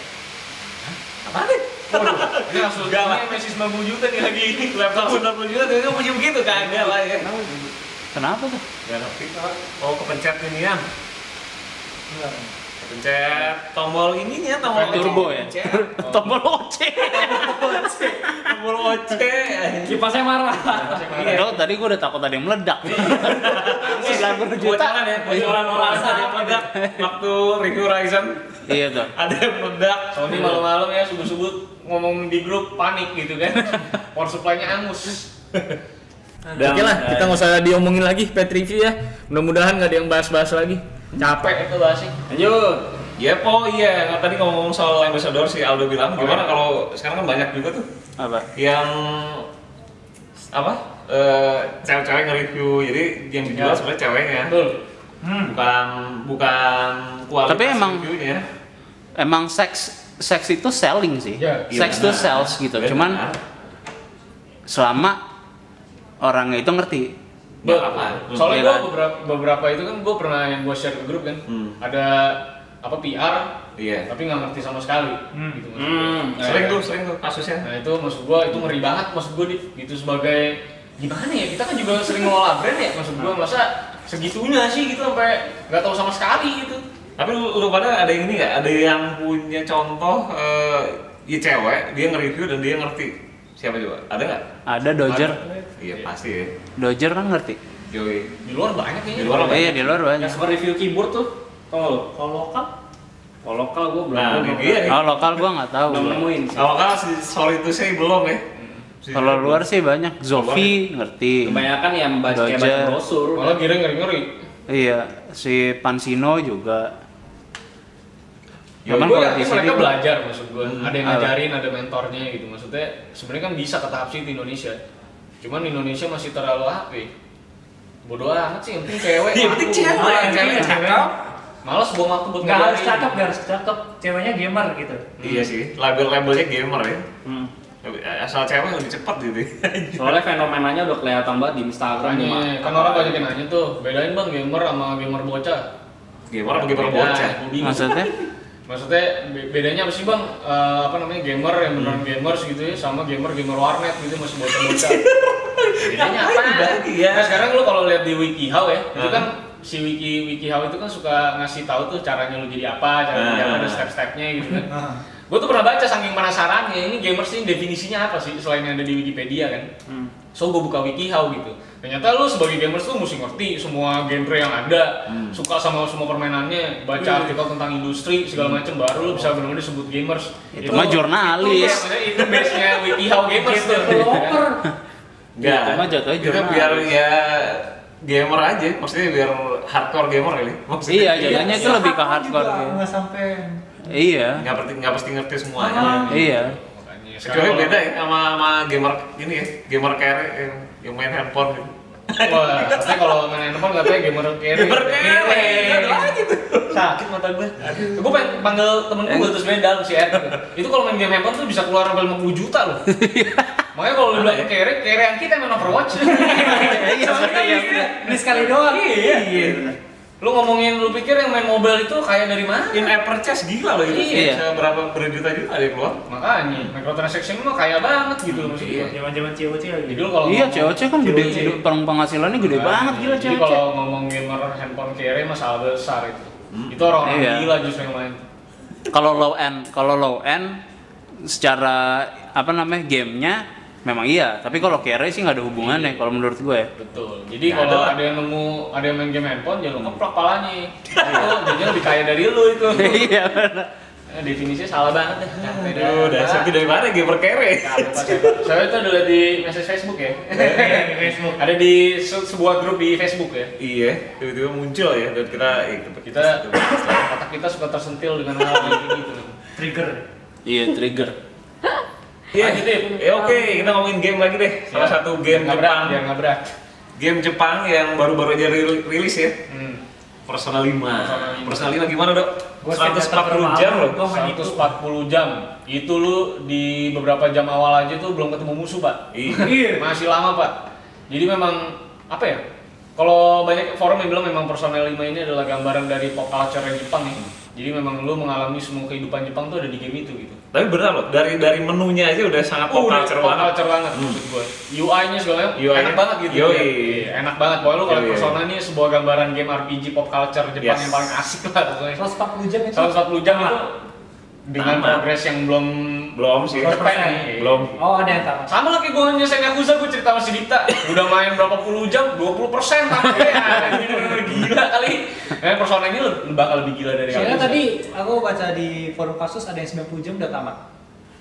apa nih? Waduh, ini langsung Enggak lah. ini Messi 90 juta nih lagi Laptop 90 juta dia punya begitu kan enggak lah ya. Kenapa tuh? Gak ngerti Pak. Oh kepencet ini ya. Kepencet tombol ininya tombol Turbo ya. Kepencet. Oh. Tombol lonceng. Tombol oce. Kipasnya marah. Tahu tadi gua udah takut ada yang meledak. Iya. 90 juta. Bocoran ya, bocoran orang ada yang meledak waktu review Ryzen Iya tuh. ada yang meledak. Sony malam-malam ya subuh-subuh ngomong di grup panik gitu kan. Power supply-nya angus. Oke lah, kita nggak usah diomongin lagi pet review ya. Mudah-mudahan nggak ada yang bahas-bahas lagi. Capek. Capek itu bahasnya. Lanjut. Ya po, iya. Nah, tadi ngomong soal ambassador si Aldo bilang gimana kalau sekarang kan banyak juga tuh Apa? yang apa eh, cewek-cewek nge-review jadi yang Ya. dijual sebenarnya ceweknya Betul. Hmm. bukan bukan kualitas Tapi emang- reviewnya Emang seks seks itu selling sih. Iya, Iya, Seks itu benar. sales gitu. Benar. Cuman selama orangnya itu ngerti. Nggak apa-apa. Soalnya Iya gua kan? beberapa, beberapa itu kan gua pernah yang gua share ke grup kan. Hmm. Ada apa PR iya tapi nggak ngerti sama sekali. Hmm. Gitu, maksud gua. Nah, sering tuh sering tuh kasusnya Nah itu maksud gua itu ngeri banget maksud gua di, gitu sebagai gimana ya kita kan juga sering ngelola brand ya maksud gua masa segitunya sih gitu sampai nggak tahu sama sekali gitu. tapi lu, lu pada ada yang ini nggak ada yang punya contoh eh ya cewek dia nge-review dan dia ngerti siapa coba ada nggak Ada Dodger. iya pasti ya Dodger kan ngerti. Yoi. Di luar banyak kayaknya. Di luar Iya, di luar Yang banyak. suka review keyboard tuh, tau nggak lo? Kalau lokal, iya. Kalau lokal gue belum Nah, belum- ini dia. Kalau lokal gua nggak tahu. belum nemuin Oh. sih. Kalau kan si soal itu sih belum ya. Si- Kalau luar sih banyak. Zofi ngerti. Kebanyakan yang baca kayak baca Baca. brosur. Malah giring ngeri-ngeri. Iya, si Pansino juga. Ya, gue Memang kalau di yakin sini mereka belajar maksud gue. Hmm. Ada yang Apa? ngajarin, ada mentornya gitu. Maksudnya sebenarnya kan bisa ke tahap sih di Indonesia. Cuman Indonesia masih terlalu HP. Bodoh amat sih, yang penting cewek. Iya, Yang penting mampu. cewek, Ah, cewek cakep. Males buang waktu buat nggak harus ngajarin. cakep, nggak harus cakep. Ceweknya gamer gitu. Iya sih. Label-labelnya gamer ya. eh, Hmm. Asal cewek lebih cepat gitu. ya. Soalnya fenomenanya udah kelihatan banget di Instagram. Iya. Makanya, cuma- kan orang banyak yang nanya tuh, bedain bang gamer sama gamer bocah. gamer apa gamer Beda, bocah? gua bingung. Maksudnya? Maksudnya be- bedanya apa sih bang? Eh, apa namanya gamer yang beneran Hmm. gamers gitu ya sama gamer gamer warnet gitu masih bocah-bocah. bedanya apa? Iya. Nah sekarang lu kalau lihat di WikiHow ya, itu kan si wiki WikiHow itu kan suka ngasih tahu tuh caranya lu jadi apa, cara jadi apa, ada Ah. step-stepnya gitu kan. Nah, Gue tuh pernah baca saking penasarannya ini gamers ini definisinya apa sih selain yang ada di Wikipedia kan. So gue buka WikiHow gitu. Ternyata lu sebagai gamers tuh mesti ngerti semua genre yang ada, suka sama semua permainannya, baca artikel tentang industri segala macem baru lu bisa benar-benar disebut gamers. Itu mah jurnalis. Itu, base- itu base-nya WikiHow gamers tuh. developer. Enggak. Cuma jatuhnya Itu jurnalis. biar ya gamer aja, maksudnya biar hardcore gamer kali. Maksudnya Iya, jadinya itu lebih ke Hardcore hardcore. juga, ya. Nggak sampai Iya. nggak pasti nggak pasti ngerti semuanya. Ah. Iya. Makanya Kecuali sekarang beda ya sama sama gamer ini ya, gamer carry yang, yang main handphone gitu. kalau- Wah, katanya kalau main handphone katanya gamer kere. Iya, Gamer carry. Itu doang gitu. sakit mata gue gue pengen panggil temen gue terus main dalam si Ed itu kalau main game handphone tuh bisa keluar sampai 50 juta loh makanya kalau lu bilang kere kere yang kita main Overwatch Iya, Ini sekali doang. Iya. lu ngomongin lu pikir yang main mobile itu kaya dari mana In app purchase gila loh itu. Iya. Bisa berapa berjuta-juta ada yang keluar. makanya microtransaction mah kaya banget gitu loh maksud gue Zaman-zaman COC lagi. jadi lu kalau Iya, ngomong- COC kan gede, COC. gede- peng- penghasilannya gede banget gila Iya. Nah, Jadi COC. kalau ngomong gamer handphone kere masalah besar itu itu orang-orang Iya. gila justru yang main Kalau low end, kalau low end secara apa namanya gamenya memang iya, tapi kalau carry sih nggak ada hubungannya kalau menurut gue. ya. Betul. Jadi Nggak kalau ada lah. ada yang nemu ada yang main game handphone, jangan lu keplak palanya. Itu jadinya lebih kaya dari lu itu. Iya benar. Eh, Definisinya salah banget. Capek gitu. dah. Aduh, udah sepi dari mana gamer carry? Nah, lupa saya, Pak. Saya itu ada di message Facebook ya. Di Facebook. ada di se- sebuah grup di Facebook ya. Iya, tiba-tiba muncul ya dan kita eh, Kita otak kita suka tersentil dengan hal hal gitu. Trigger. Iya trigger. Iya, Lanjut deh. ya oke, kita ngomongin game lagi deh. Salah Siap. satu game Nggak berat, ya. Jepang, biar nggak berat. game Jepang yang baru-baru aja ril- rilis ya. Hmm. Personal 5. Personal 5 gimana, Dok? Gua 140 jam loh. Gua main itu. 140 jam. Itu lu di beberapa jam awal aja tuh belum ketemu musuh, Pak. Iya. masih lama pak jadi memang apa ya kalau banyak forum yang bilang memang personel 5 ini adalah gambaran dari pop culture yang Jepang ya jadi memang lu mengalami semua kehidupan Jepang tuh ada di game itu gitu Tapi benar loh, dari dari menunya aja udah sangat pop Udah, culture pop banget. culture banget maksud gua UI-nya segala macam UI -nya. enak banget gitu Yoi. Iya, enak banget pokoknya lu kalau Yoi. persona ini sebuah gambaran game RPG pop culture Jepang Yes. yang paling asik lah pokoknya 140 jam itu. 140 jam itu dengan Tamat. progres yang belum Belum sih. belum cepet Belum. nih. Belum. Oh, ada yang tamat. Sama lah kayak gue nyelesain Yakuza, gue cerita sama si Dita Udah main berapa puluh jam, 20 persen ya, Bener-bener Gila kali Eh, persona ini lu- bakal lebih gila dari Soalnya Yakuza. tadi aku baca di forum kasus ada yang 90 jam udah tamat.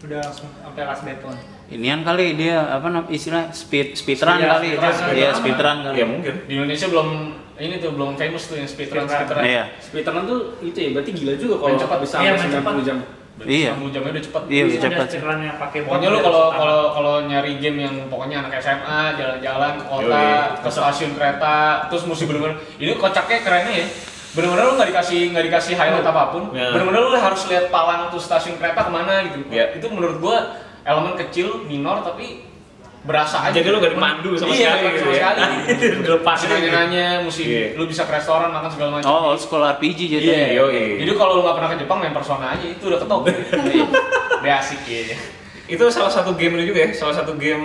Udah langsung sampai last battle. Inian kali dia apa namanya istilah speed speedrun Iya, kali speedrun. Iya speedrun kali. Ya mungkin. Di Indonesia belum, ini tuh belum famous tuh yang speedrun speedrun Iya. Speedrun tuh itu ya, berarti gila juga kalau Main cepat. bisa Iya, sampai 90 main jam. Iya. 10 jamnya udah cepet Iya, Terus ada cepat. speedrun yang pakai Pokoknya bot lu Iya, udah kalau langsung kalau kalau nyari game yang pokoknya anak SMA jalan-jalan ke kota, Yoi. ke stasiun kereta, terus mesti bener-bener ini kocaknya kerennya ya. Bener-bener lu nggak dikasih nggak dikasih highlight apapun. Ya. Bener-bener lu harus lihat palang tuh stasiun kereta kemana gitu. Ya. Itu menurut gua elemen kecil minor tapi berasa aja. Jadi lu nggak dipandu sama Iya, sekali nggak gitu sama ya. sekali. Mesti Dilepasin aja. nanya-nanya, mesti Iya. lu bisa ke restoran makan segala macam. Oh old school RPG jadi. Iya, Iya, iya. Jadi kalau lu nggak pernah ke Jepang main persona aja itu udah Iya. ketop. Dia asik ya. Itu salah satu game ini juga ya, salah satu game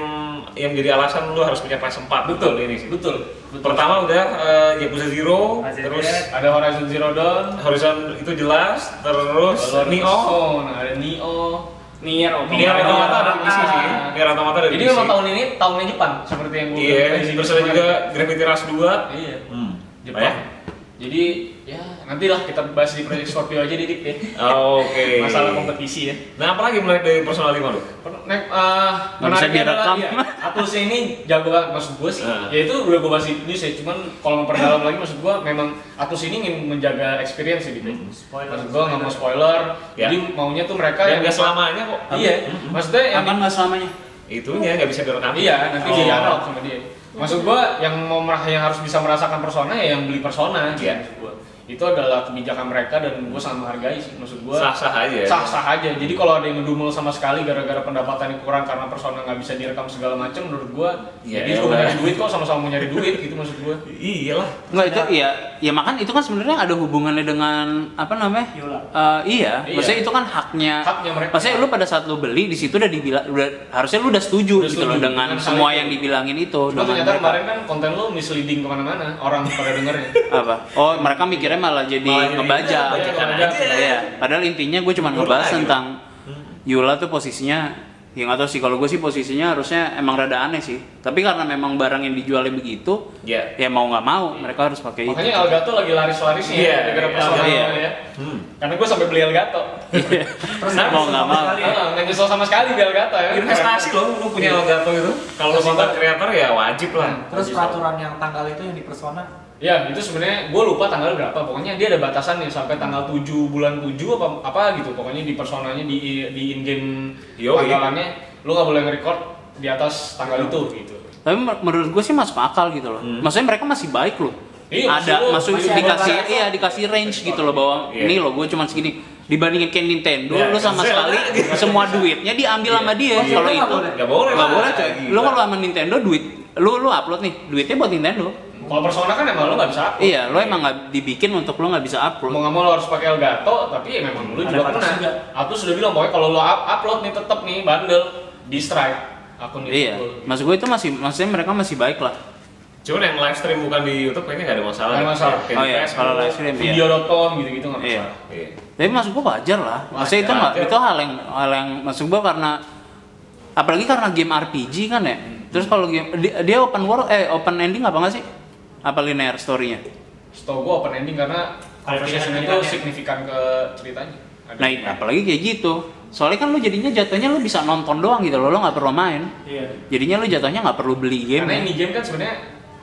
yang jadi alasan lu harus punya PS4 Betul ini sih. Betul. Betul. Pertama udah eh, Yakuza Zero, Yakuza terus Zero. ada Horizon Zero Dawn, Horizon itu jelas, terus lalu ada Neo, Persona, ada Neo, Nier Nier Automata. Automata ada di PC sih. Nier Automata ada di Jadi PC. memang tahun ini tahunnya Jepang seperti yang gue Iya, terus ada juga Gravity Rush 2. Iya. Hmm. Jepang. banyak. Jadi ya nantilah kita bahas di Project Scorpio aja didik ya. Oh, Oke. Masalah kompetisi ya. Nah, apa lagi mulai dari personal 5 lu? Nek, eh, menariknya adalah direkam. iya, Atus ini jago banget maksud gue sih. Nah. Ya itu udah gue bahas di Indonesia, cuman kalau memperdalam lagi maksud gue memang Atus ini ingin menjaga experience ya gitu. Spoiler. Maksud gue nggak mau spoiler, Ya. jadi maunya tuh mereka Dan nggak selamanya kok. Iya, maksudnya yang Aman nggak selamanya? Itunya nggak bisa direkam. Iya, nanti Oh. jadi analog sama dia. Maksud gua yang mau merah yang harus bisa merasakan persona ya yang beli persona gitu Iya. maksud gua. Itu adalah kebijakan mereka dan gua sangat menghargai sih maksud gua. Sah-sah aja. Sah-sah aja. Jadi kalau ada yang ngedumel sama sekali gara-gara pendapatan yang kurang karena persona nggak bisa direkam segala macam menurut gua ya Iya, jadi elah. gua nyari duit kok sama-sama mau nyari duit gitu maksud gua. Iya lah. Enggak itu ya ya makan itu kan sebenarnya ada hubungannya dengan apa namanya? Yola. Eh, iya, Iya. maksudnya itu kan haknya. Haknya mereka. Maksudnya lu pada saat lu beli di situ udah dibilang udah harusnya lu udah setuju Udah gitu setuju loh dengan dengan hal semua itu. yang dibilangin itu Cuma dengan ternyata mereka. kemarin kan konten lu misleading kemana-mana orang pada dengernya. apa? Oh, mereka mikirnya malah jadi Malah jadi- ngebajak. Iya, ngebajak. gitu. Iya, padahal intinya gue cuma Mundur ngebahas lagi. tentang Hmm. Yula tuh posisinya Ya nggak tahu sih, kalau gue sih posisinya harusnya emang rada aneh sih Tapi karena memang barang yang dijualnya begitu Iya. Ya mau nggak mau, mereka harus pakai itu Makanya Elgato lagi laris-larisnya Iya, ya, gara-gara iya, persona iya. ya. Hmm. Karena gua sampai beli Elgato. Terus Nah, mau nggak mau. sekali ya. Ah, Nggak nyesel sama sekali beli Elgato ya. Investasi loh, lu punya Elgato itu. Iya. Kalau lu konten creator ya wajib lah. Terus Wajib peraturan yang tanggal itu yang di persona Ya, itu sebenarnya gue lupa tanggal berapa. Pokoknya dia ada batasan nih sampai tanggal 7 bulan 7 apa apa gitu. Pokoknya di personanya di di in game Yoi. iya. tanggalannya lu nggak boleh nge-record di atas tanggal itu gitu. Tapi mer- menurut gue sih masuk akal gitu loh Hmm. Maksudnya mereka masih baik loh Iya, ada masih- masuk masih ada dikasih batas. iya dikasih range gitu loh bahwa Iya. ini loh gue cuma segini dibandingin kayak Nintendo Iya, lu sama iya. sekali semua duitnya diambil sama dia Masih kalau itu nggak itu boleh. Nggak boleh nggak lah. boleh coy Gila. lu kalau sama Nintendo duit lu lu upload nih duitnya buat Nintendo Kalau persona kan emang lu nggak bisa upload. iya lu emang nggak dibikin untuk lu nggak bisa Mau upload nggak mau lu harus pakai Elgato, tapi ya memang lu Ada juga batas pernah. juga. Aku sudah bilang pokoknya kalau lu up- upload nih tetep nih bandel di strike akun itu. iya maksud gue itu masih maksudnya mereka masih baik lah Cuman yang live stream bukan di YouTube kayaknya nggak ada masalah. Nggak ada masalah. Kayak Oh di iya, Facebook. kalau live stream ya Video.com gitu-gitu nggak Iya. masalah. Iya. tapi maksud gue wajar lah maksudnya itu Wajar. nggak itu hal yang hal yang maksud gue karena apalagi karena game RPG kan ya terus kalau game di- dia open world eh open ending apa nggak sih apa linear story-nya Setahu gue open ending karena Ada conversation itu pilihan-pilihannya. signifikan ke ceritanya. Ada- nah apalagi kayak gitu soalnya kan lu jadinya jatuhnya lu bisa nonton doang gitu loh lo nggak perlu main Iya. jadinya lu jatuhnya nggak perlu beli game ya. Karena ini game kan sebenarnya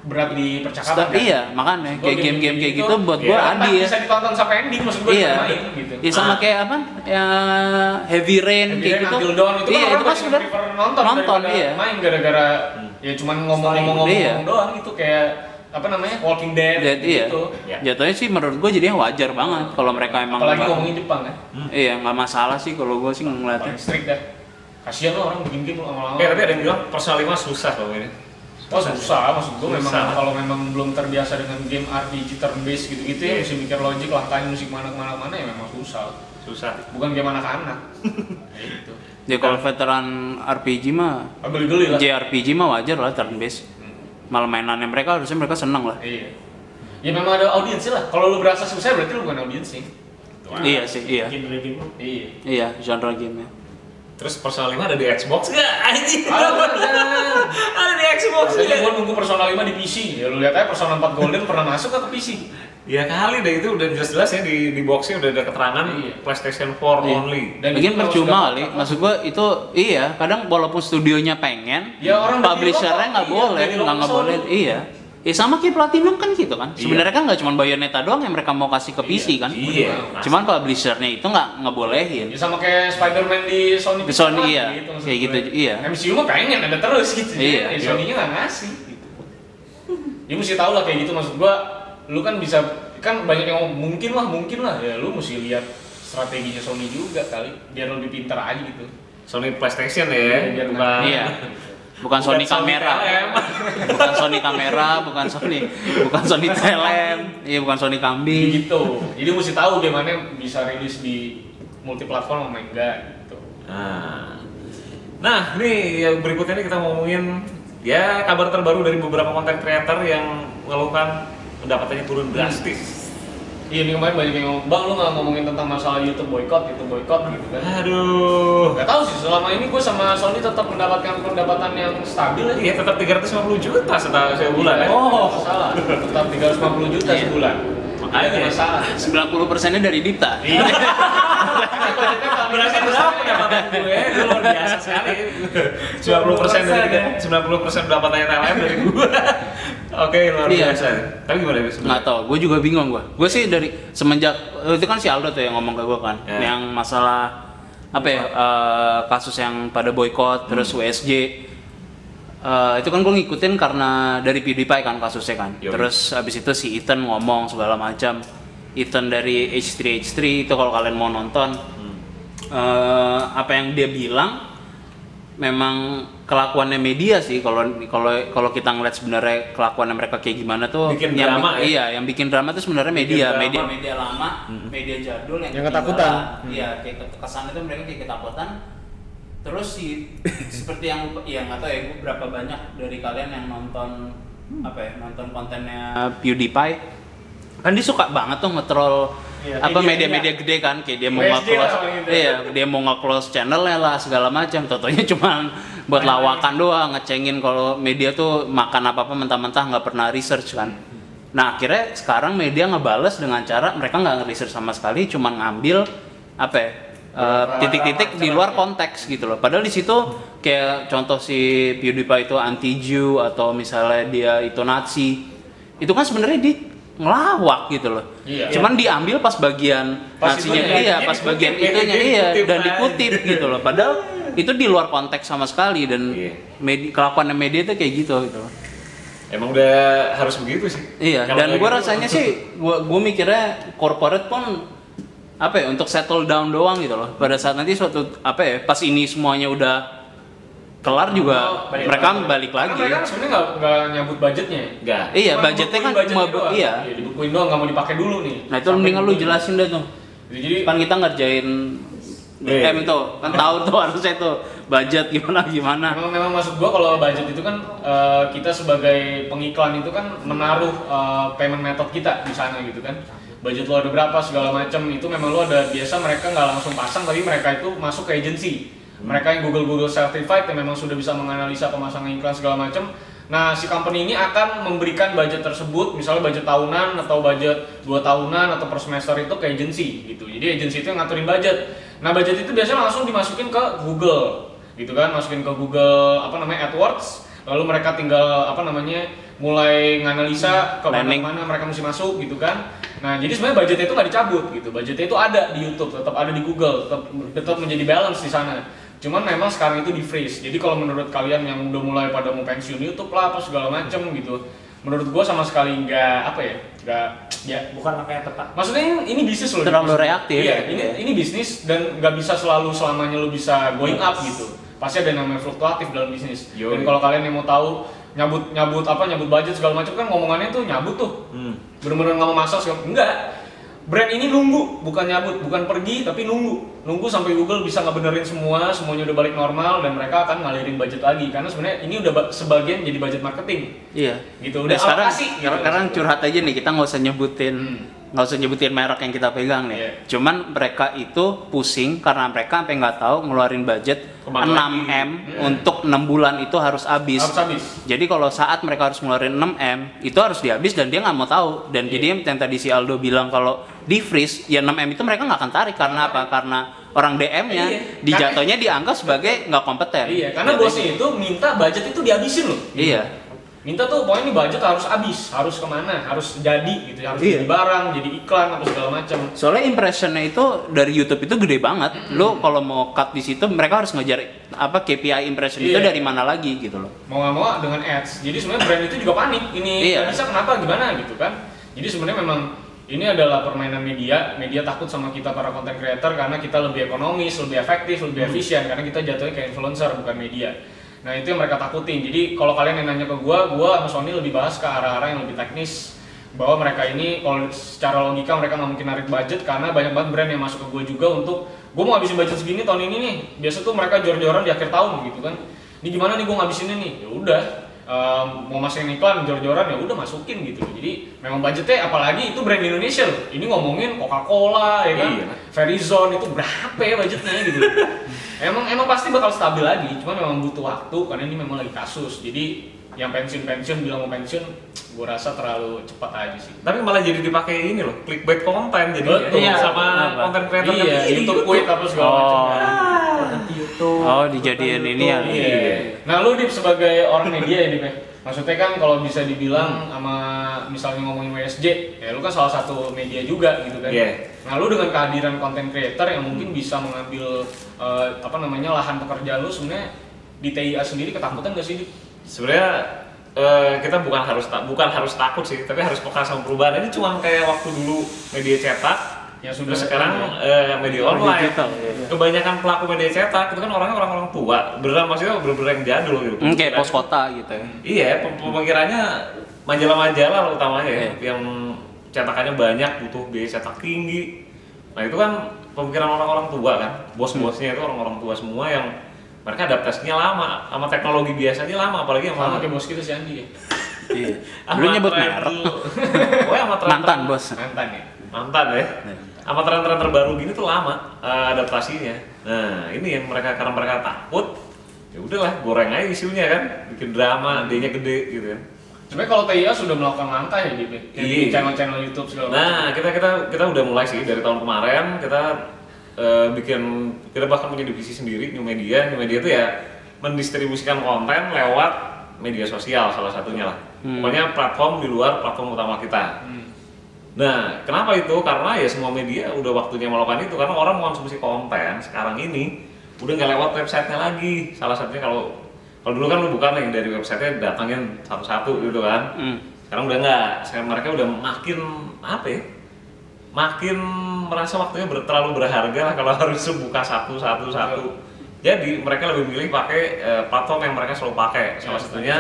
berat di percakapan Sta- kan. iya makanya Gua kayak game-game kayak gitu buat ya, gue kan adil Bisa ditonton sampai ending maksud gue iya main gitu. ya sama kayak apa ya heavy rain Heavy kayak Rain, gitu Until Dawn itu kan iya itu orang kan masih sebenarnya prefer nonton, nonton daripada iya Hmm. main gara-gara ya cuman ngomong-ngomong Iya. doang itu kayak apa namanya Walking Dead, Jadi iya gitu. Ya. jatuhnya sih menurut gue jadinya wajar banget kalau mereka emang Apalagi nggak- ngomongin Jepang ya, iya nggak masalah sih kalau gue sih ngeliatnya paling strict dah. Kasihan lo orang bikin game lama-lama. Eh tapi ada yang bilang personal 5 susah loh ini. Oh susah, maksud gue memang Susah. kalau memang belum terbiasa dengan game RPG turn based gitu-gitu ya Iya. mesti mikir logik langkahnya musik mana kemana mana ya memang susah. Susah. Bukan game anak-anak. gitu. jadi Ya, kalau veteran RPG mah Ah, Geli-geli lah. JRPG mah wajar lah turn based malah mainannya mereka harusnya mereka seneng lah Iya. Ya memang ada audiensnya lah. Kalau lu berasa susah berarti lu bukan audiens sih. iya sih iya Genre game lu. Iya. iya genre game Terus personal 5 ada di Xbox nggak? Anjing. Ada, ada. Ada di Xbox Makanya nggak? gua nunggu Persona 5 di PC. Ya lu lihat aja Persona 4 Golden pernah masuk nggak ke PC. Ya kali deh itu udah jelas-jelas ya di di boxnya udah ada keterangan Iya. PlayStation 4 Iya. only. Dan Lagian itu kalau percuma sudah kali, kontrak- maksud gua itu iya, kadang walaupun studionya pengen, Ya, orang udah publishernya di nggak lokal, boleh, iya, dari nggak lokal nggak boleh, sono. iya. Ya sama kayak Platinum kan gitu Iya. kan. Sebenarnya kan nggak cuma Bayonetta doang yang mereka mau kasih ke PC kan. Iya. Cuman publishernya itu nggak ngebolehin. Ya sama kayak Spider-Man di Sony Di Sony, Pictures, iya. maksud Kayak gitu, gue. iya. MCU mah pengen ada terus gitu. Ya, Iya, iya. Sony-nya nggak ngasih gitu. Ya mesti tahu lah kayak gitu maksud gua lu kan bisa kan banyak yang ngomong mungkin lah mungkin lah ya lu mesti lihat strateginya Sony juga kali biar lebih pintar aja gitu. Sony PlayStation Iya, ya, biar bukan. Iya. Bukan Sony kamera, TLM. bukan Sony kamera, bukan Sony, bukan Sony TLM, iya bukan Sony kambing. Gitu. Jadi mesti tahu gimana bisa rilis di multiplatform sama enggak gitu. Nah, nah ini yang berikutnya ini kita mau ngomongin ya kabar terbaru dari beberapa konten creator yang mengeluhkan pendapatannya turun drastis. Iya, ini kemarin banyak yang ngomong, bang lu nggak ngomongin tentang masalah YouTube boykot, YouTube boykot gitu Hmm. kan. Aduh. Gak tau sih, selama ini gue sama Sony tetap mendapatkan pendapatan yang stabil aja. Iya tetap 350 juta setiap sebulan ya. Iya. Oh, masalah. Tetap 350 juta sebulan. Makanya. Nggak masalah. 90% nya dari Dipta. Berarti berapa pendapatan gue? Itu luar biasa sekali. 90 persen dari 90 persen pendapatan TLM dari gue. Oke luar Iya. Nah. biasa. Tapi gimana ya Nggak sebenarnya? tau, gue juga bingung gue. Gue sih dari semenjak itu kan si Aldo tuh yang ngomong ke gue kan, Ya. yang masalah apa ya eh, kasus yang pada Hmm. boykot terus WSJ. Eh, itu kan gue ngikutin karena dari PewDiePie kan kasusnya kan. Yoi. Terus abis itu si Ethan ngomong segala macam. Ethan dari H3H3 itu kalau kalian mau nonton Hmm. eh, apa yang dia bilang memang kelakuannya media sih kalau kalau kalau kita ngeliat sebenarnya kelakuannya mereka kayak gimana tuh Bikin yang drama ya? bi- iya yang bikin drama tuh sebenarnya media drama. media media lama media jadul yang, Yang ketinggalan. ketakutan. iya kayak ket- kesannya tuh mereka kayak ketakutan terus si seperti yang ya nggak tahu ya gua berapa banyak dari kalian yang nonton Hmm. apa ya nonton kontennya PewDiePie kan dia suka banget tuh nge-troll Iya, apa media- media-media gede kan kayak dia mau WSD nge lah paling gitu. iya dia mau nge-close channelnya lah segala macam totonya cuman buat lawakan doang ngecengin kalau media tuh makan apa apa mentah-mentah nggak pernah research kan nah akhirnya sekarang media ngebales dengan cara mereka nggak nge-research sama sekali cuman ngambil apa ya, eh, titik-titik di luar konteks gitu loh padahal di situ kayak contoh si PewDiePie itu anti Jew atau misalnya dia itu Nazi itu kan sebenarnya dia ngelawak gitu loh Iya. cuman diambil pas bagian Pas nasinya itunya, iya dia pas dikutip, bagian dia- itunya dia iya dikutip, dan anjir. dikutip gitu loh padahal itu di luar konteks sama sekali dan Iya. medi- kelakuan media itu kayak gitu gitu loh Emang udah harus begitu sih. iya Kalau dan kayak gue gitu. rasanya sih gue gue mikirnya corporate pun apa ya untuk settle down doang gitu loh pada saat nanti suatu apa ya pas ini semuanya udah kelar juga Balik mereka balik lagi Karena mereka kan sebenarnya nggak nggak nyabut budgetnya. ya. Enggak. iya Cuma budgetnya kan dibukuin cuma doang. iya dibukuin doang nggak mau dipakai dulu nih. nah itu mendingan lu jelasin deh tuh Jadi kan kita ngerjain Iya. DM itu kan tahu tuh harusnya tuh budget gimana gimana Memang, memang maksud gua kalau budget itu kan eh, kita sebagai pengiklan itu kan menaruh eh, payment method kita di sana gitu kan. Budget lo ada berapa segala macam itu memang lo ada biasa mereka nggak langsung pasang tapi mereka itu masuk ke agency. Mereka yang Google Google certified yang memang sudah bisa menganalisa pemasangan iklan segala macam. Nah, si company ini akan memberikan budget tersebut, misalnya budget tahunan atau budget dua tahunan atau per semester itu ke agency gitu. Jadi agency itu yang ngaturin budget. Nah, budget itu biasanya langsung dimasukin ke Google gitu kan masukin ke Google apa namanya AdWords lalu mereka tinggal apa namanya mulai nganalisa ke Planning. mana mereka mesti masuk gitu kan nah jadi sebenarnya budgetnya itu nggak dicabut gitu budgetnya itu ada di YouTube tetap ada di Google tetap tetap menjadi balance di sana cuman memang sekarang itu di freeze jadi kalau menurut kalian yang udah mulai pada mau pensiun YouTube lah apa segala macem gitu menurut gua sama sekali nggak apa ya nggak ya bukan langkah yang tepat maksudnya ini, ini bisnis loh Terlalu reaktif. iya ini ini bisnis dan nggak bisa selalu selamanya lo bisa going up gitu pasti ada yang namanya fluktuatif dalam bisnis Yo. dan kalau kalian yang mau tahu nyabut nyabut apa nyabut budget segala macam kan ngomongannya tuh nyabut tuh Hmm. bener-bener nggak mau masuk segala enggak brand ini nunggu bukan nyabut bukan pergi tapi nunggu nunggu sampai Google bisa ngebenerin semua semuanya udah balik normal dan mereka akan ngalirin budget lagi karena sebenarnya ini udah ba- sebagian jadi budget marketing Iya. Gitu, Nah, udah sekarang alokasi, gitu. sekarang curhat aja nih kita nggak usah nyebutin nggak usah nyebutin merek yang kita pegang nih. Hmm. Iya. Cuman mereka itu pusing karena mereka sampai nggak tahu ngeluarin budget Kemana 6 m untuk 6 bulan itu harus habis. Iya. harus habis Jadi kalau saat mereka harus ngeluarin 6 m itu harus dihabis dan dia nggak mau tahu. Iya. Dan jadi yang tadi si Aldo bilang kalau di freeze ya 6 m itu mereka nggak akan tarik karena apa? Karena orang DM-nya Iya. dijatuhnya dianggap sebagai nggak kompeten. iya karena Jadi- bosnya itu minta budget itu dihabisin loh Iya. minta tuh pokoknya nih budget harus habis harus kemana harus jadi gitu harus Iya. jadi barang jadi iklan apa segala macam Soalnya impressionnya itu dari YouTube itu gede banget. Lo kalau mau cut di situ mereka harus ngejar apa KPI impression itu Iya. dari mana lagi gitu loh. mau nggak mau dengan ads jadi sebenarnya brand itu juga panik ini Iya. nggak bisa kenapa gimana gitu kan jadi sebenarnya memang ini adalah permainan media media takut sama kita para content creator karena kita lebih ekonomis lebih efektif lebih efisien karena kita jatuhnya kayak influencer bukan media nah itu yang mereka takutin jadi kalau kalian yang nanya ke gua gua sama Sony lebih bahas ke arah-arah yang lebih teknis bahwa mereka ini kalau secara logika mereka nggak mungkin narik budget karena banyak banget brand yang masuk ke gue juga untuk gue mau ngabisin budget segini tahun ini nih biasa tuh mereka jor-joran di akhir tahun gitu kan ini gimana nih gue ngabisinnya nih ya udah eh, mau masukin iklan jor-joran ya udah masukin gitu loh. Jadi memang budgetnya apalagi itu brand Indonesia loh. Ini ngomongin Coca-Cola ya kan. Iya. Verizon itu berapa ya budgetnya gitu. loh. emang emang pasti bakal stabil lagi, cuman memang butuh waktu karena ini memang lagi kasus. Jadi yang pensiun-pensiun bilang mau pensiun, gue rasa terlalu cepat aja sih. Tapi malah jadi dipakai ini loh, clickbait konten jadi Betul. Iya, sama Kenapa? konten creator iya, yang YouTube kuit apa segala Oh. macam. Nah, Konten YouTube. Oh, dijadiin konten ini ya. YouTube. Iya. Nah lu Dip sebagai orang media ya Dip ya. Maksudnya kan kalau bisa dibilang sama misalnya ngomongin WSJ, ya lu kan salah satu media juga gitu kan. Iya. Nah lu dengan kehadiran konten creator yang mungkin bisa mengambil eh, apa namanya lahan pekerjaan lu sebenarnya di TIA sendiri ketakutan gak sih Dip? Sebenarnya eh, kita bukan harus ta- bukan harus takut sih, tapi harus peka sama perubahan. Ini cuma kayak waktu dulu media cetak, Ya, yang sudah sudah sekarang sekarang eh, media online. digital, Kebanyakan pelaku media cetak itu kan orangnya orang-orang tua, beneran maksudnya bener-bener yang jadul gitu. Hmm, kayak pos Pemikirannya- kota gitu ya. Iya, pem- pemikirannya majalah-majalah lah utamanya ya, Iya. yang cetakannya banyak butuh biaya cetak tinggi. Nah itu kan pemikiran orang-orang tua kan, bos-bosnya itu orang-orang tua semua yang mereka adaptasinya lama, sama teknologi biasanya lama, ya, apalagi Sama sama kayak bos kita si Andi ya. Iya. sama Lu nyebut tren merek. dulu. Woy, sama tren- Mantan, Bos. Mantan ya. mantan ya. Sama tren-tren terbaru gini tuh lama eh, adaptasinya. Nah ini yang mereka karena mereka takut, ya udahlah goreng aja isunya kan, bikin drama, dianya gede gitu kan. Sebenarnya kalau TIA sudah melakukan langkah ya Dip. ya. Yang Di Iya. channel-channel YouTube segala macam. Nah, kita kita kita udah mulai sih dari tahun kemarin kita eh, bikin kita bahkan punya divisi sendiri New Media. New Media itu ya mendistribusikan konten lewat media sosial salah satunya lah. Pokoknya platform di luar platform utama kita. Nah, kenapa itu? Karena ya semua media udah waktunya melakukan itu karena orang mengonsumsi konten sekarang ini udah nggak lewat websitenya lagi. Salah satunya kalau kalau dulu kan lu bukan yang dari websitenya datangin satu-satu gitu kan Hmm. sekarang udah nggak sekarang mereka udah makin apa ya makin merasa waktunya ber- terlalu berharga lah kalau harus buka satu satu satu jadi mereka lebih milih pakai eh, platform yang mereka selalu pakai salah satunya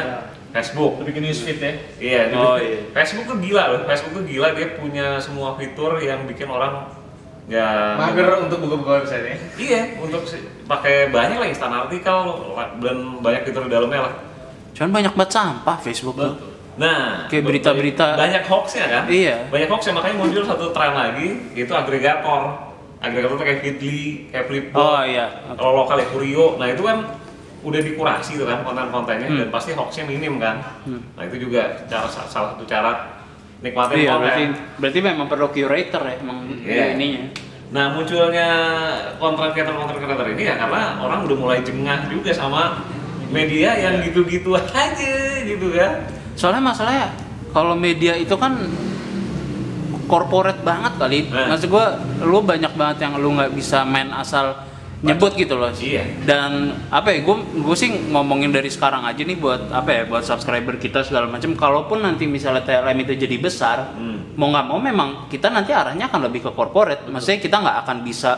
Facebook Lu bikin newsfeed ya. Iya, jadi Oh, iya. Facebook tuh gila loh. Facebook tuh gila dia punya semua fitur yang bikin orang Nah. nggak Mager untuk buka-buka website ya. Iya, untuk si- pakai banyak lah instan artikel dan banyak fitur di dalamnya lah. Cuman banyak banget sampah Facebook tuh. Nah, Kayak ba- berita-berita- banyak hoaxnya kan? Iya. Banyak hoaxnya makanya muncul satu tren lagi itu agregator. Agregator tuh kayak Fitly, kayak Flipboard, Oh iya. kalau lokal ya Kurio. Nah, itu kan udah dikurasi tuh kan konten-kontennya Hmm. dan pasti hoaxnya minim kan. Nah, itu juga cara salah satu cara nikmatin Iya, konten. berarti berarti memang perlu curator ya, emang Iya. ininya. Nah, munculnya konten creator-konten creator ini ya karena orang udah mulai jengah juga sama media yang gitu-gitu aja gitu kan. Soalnya masalahnya kalau media itu kan corporate banget kali. Nah. Maksud gua lu banyak banget yang lu nggak bisa main asal nyebut gitu loh. Iya. Dan apa ya gua gua sih ngomongin dari sekarang aja nih buat apa ya buat subscriber kita segala macam kalaupun nanti misalnya TLM itu jadi besar, Hmm. mau nggak mau memang kita nanti arahnya akan lebih ke corporate. Maksudnya kita nggak akan bisa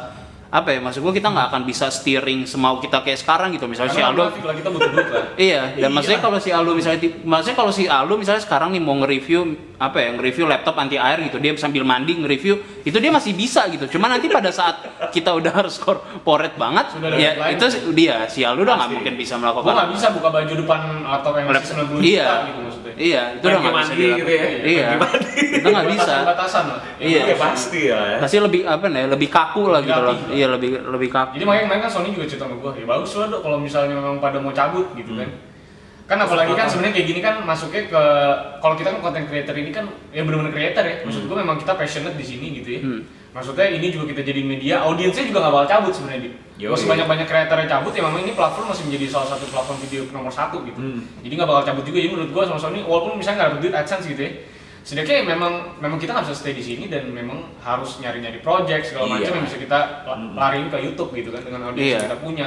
apa ya maksud gua kita nggak akan bisa steering semau kita kayak sekarang gitu misalnya si Karena Aldo lagi kita butuh duit lah. Iya, dan Iya. maksudnya kalau si Alu misalnya, ti- maksudnya kalau si Alu misalnya sekarang nih mau nge-review apa ya, nge-review laptop anti air gitu, dia sambil mandi nge-review, itu dia masih bisa gitu. Cuma nanti pada saat kita udah harus corporate banget, Sudah ada ya deadline. itu si- dia si Alu udah nggak mungkin bisa Gue melakukan. nggak bisa buka baju depan laptop yang masih 90 iya, juta gitu maksudnya. iya, itu udah Lagi nggak bisa mandi dilakukan. gitu ya. Iya, Lagi mandi. itu nggak bisa. Batasan-batasan lah. Iya. Ya pasti ya. Pasti lebih apa nih, lebih kaku lah Lebih gitu loh. rapi. Iya, lebih lebih kaku. Jadi makanya kemarin kan Sony juga cerita sama gue, ya bagus lah dok kalau misalnya memang pada mau cabut gitu kan. Hmm. Kan apalagi kan sebenarnya kayak gini kan masuknya ke kalau kita kan content creator ini kan ya benar-benar creator ya. Maksud Hmm. gue memang kita passionate di sini gitu ya. Maksudnya ini juga kita jadi media, audiensnya juga nggak bakal cabut sebenarnya di. Yoi. Masih banyak-banyak creator yang cabut, ya memang ini platform masih menjadi salah satu platform video nomor satu gitu. Hmm. Jadi nggak bakal cabut juga. Jadi menurut gue sama Sony, walaupun misalnya nggak dapet duit AdSense gitu ya, setidaknya memang memang kita nggak bisa stay di sini dan memang harus nyari-nyari project segala Iya. macam yang bisa kita la- lariin ke YouTube gitu kan dengan audiens Iya. yang kita punya.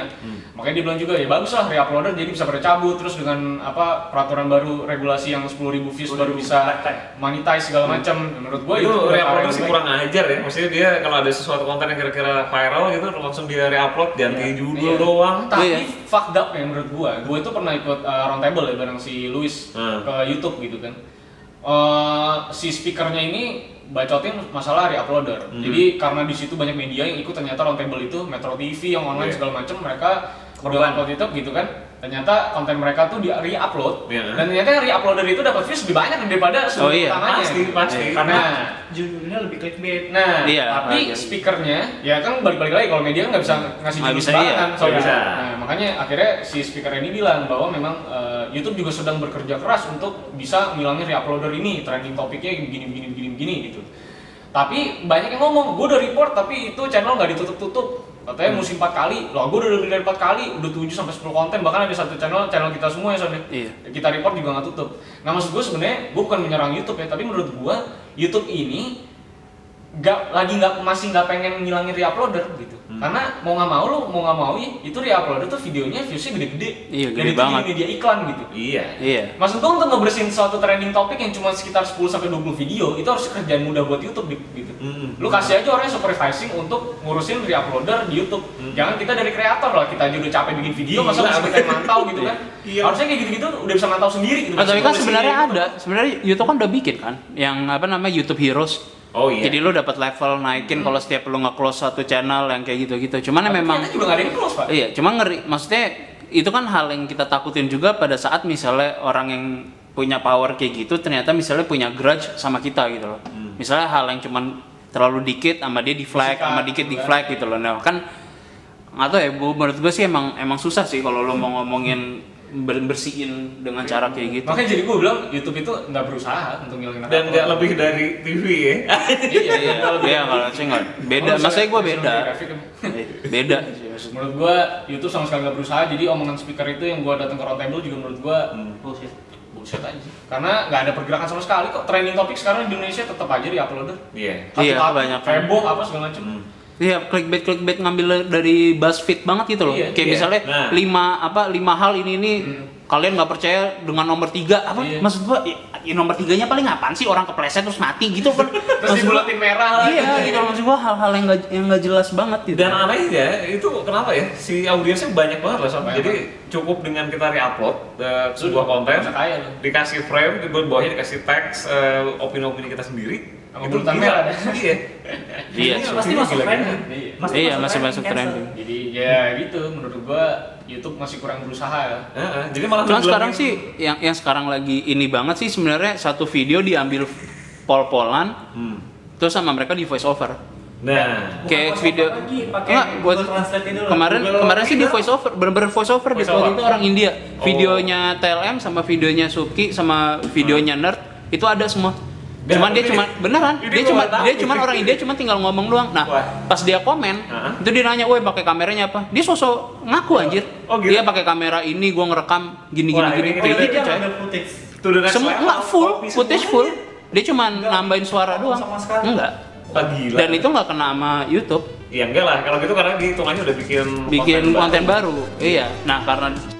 Makanya dia bilang juga ya bagus lah reuploader jadi bisa pada cabut terus dengan apa peraturan baru regulasi yang 10.000 views baru bisa monetize segala macam. Menurut gua itu itu udah reuploader hal sih yang kurang ajar ya maksudnya dia kalau ada sesuatu konten yang kira-kira viral gitu langsung dia reupload ganti Iya. judul doang Tapi Iya. fucked up ya menurut gua. Gua itu pernah ikut uh, roundtable ya bareng si Luis Hmm. ke YouTube gitu kan. Eh, si speakernya ini bacotin masalah reuploader. Hmm. Jadi karena di situ banyak media yang ikut ternyata roundtable itu Metro TV yang online Iya. segala macam mereka udah upload YouTube gitu kan. ternyata konten mereka tuh di re-upload Iya. dan ternyata yang re-uploader itu dapat views lebih banyak daripada Nah, sumber Oh, iya. utamanya Pasti, pasti. karena judulnya lebih clickbait nah Iya, tapi makanya. speakernya ya kan balik-balik lagi kalau media kan nggak bisa ngasih Nggak judul bisa, sembarangan iya. soalnya. Bisa. Nah, makanya akhirnya si speaker ini bilang bahwa memang eh, YouTube juga sedang bekerja keras untuk bisa ngilangin re-uploader ini trending topiknya begini begini begini begini gitu tapi banyak yang ngomong gue udah report tapi itu channel nggak ditutup-tutup Hmm. katanya musim 4 kali loh gue udah dengerin 4 kali udah 7 sampai 10 konten bahkan ada satu channel channel kita semua ya soalnya Iya. kita report juga nggak tutup nah maksud gue sebenarnya gue bukan menyerang YouTube ya tapi menurut gue YouTube ini nggak lagi nggak masih nggak pengen ngilangin reuploader gitu Hmm. karena mau nggak mau lu mau nggak mau ya itu reuploader tuh videonya viewsnya gede-gede Iya, Dan gede itu jadi banget. media iklan gitu Iya. Iya. Maksud gue untuk ngebersihin suatu trending topik yang cuma sekitar 10 sampai 20 video itu harus kerjaan mudah buat YouTube Dik, gitu. Hmm, Mm. Lu kasih aja orangnya supervising untuk ngurusin reuploader di YouTube. Hmm. Jangan kita dari kreator lah, kita aja udah capek bikin video masa Iya. harus kita yang mantau gitu kan. Iya. Harusnya kayak gitu-gitu udah bisa mantau sendiri gitu. Nah, tapi kan Bisa sebenarnya ngurusin. ada, sebenarnya YouTube kan udah bikin kan, yang apa namanya YouTube Heroes. Oh iya. Jadi lu dapat level naikin kalau setiap lu nge-close satu channel yang kayak gitu-gitu. Cuman ya Hmm. Tapi kan- memang ternyata juga nggak ada yang close, Pak. Iya, cuma ngeri. Maksudnya itu kan hal yang kita takutin juga pada saat misalnya orang yang punya power kayak gitu ternyata misalnya punya grudge sama kita gitu loh. Hmm. Misalnya hal yang cuman terlalu dikit sama dia di flag, Disikat, sama dikit di gitu kan. flag gitu loh. Nah, kan nggak tahu ya, bu- menurut gue sih emang emang susah sih kalau lo mau ngomongin ber- bersihin dengan cara kayak gitu. Makanya jadi gue bilang YouTube itu nggak berusaha untuk ngilangin Dan nggak reuploader. lebih dari TV ya. Iya, iya, Iya, nggak lebih. iya kalau saya nggak beda. Kalau Maksudnya gue misalnya- beda. misalnya grafik Iya, kan. Eh, Beda sih maksudnya. Menurut gua YouTube sama sekali gak berusaha, jadi omongan speaker itu yang gua datang ke roundtable juga menurut gua Hmm. Bullshit. bullshit aja. Karena nggak ada pergerakan sama sekali kok. Trending topik sekarang di Indonesia tetap aja di uploader. Iya. Iya, kebanyakan. Heboh apa segala macam. Hmm. Iya, clickbait clickbait ngambil dari BuzzFeed banget gitu loh. Iya, Kayak iya. Hmm. misalnya Nah. lima apa lima hal ini ini kalian nggak percaya dengan nomor tiga apa Iya. maksud gua i- i- nomor tiganya paling apaan sih orang kepleset terus mati gitu kan Terus Maksud gua- dibulatin merah lah. iya gitu loh. maksud gua hal-hal yang nggak yang nggak jelas banget gitu Dan anehnya itu kenapa ya si audiensnya banyak banget loh Banyak sampai jadi cukup dengan kita reupload eh, sebuah Udah, konten bisa kaya lu. dikasih frame di bawahnya dikasih teks eh, opini-opini kita sendiri Sama bulutan merah ada. iya Iya, Ini sih. pasti masuk Gila-gila. trending Iya. Iya, masih masuk cancel. trending. Jadi ya gitu menurut gua YouTube masih kurang berusaha ya. Heeh, jadi malah gitu. Cuman dibilangin- sekarang sih yang yang sekarang lagi ini banget sih sebenarnya satu video diambil pol-polan Hmm. terus sama mereka di voice over. nah Bukan kayak voice video over lagi, pakai Nggak, Google buat Translate ini loh. kemarin Google- kemarin sih di voice over bener-bener voice over di Voice over. waktu itu orang India Oh. videonya TLM sama videonya Suki sama videonya Nerd itu ada semua cuman dia ini- cuma beneran Hmm. ini dia gua cuma nggak tahu. dia cuma orang India cuma tinggal ngomong doang nah Wah. pas dia komen Hah? itu dia nanya woi pakai kameranya apa dia sosok ngaku anjir Oh, gitu. dia pakai kamera ini gua ngerekam gini gini Wah, gini ini- kayak ini gitu dia coy ngambil footage to the next semua level. nggak full Copy footage semuanya. full dia cuma nambahin suara Sama doang sekali. enggak Wah, Ah, gila. Iya, dan itu nggak kena sama YouTube ya enggak lah kalau gitu karena dihitungannya udah bikin bikin konten, baru. Iya. Nah, karena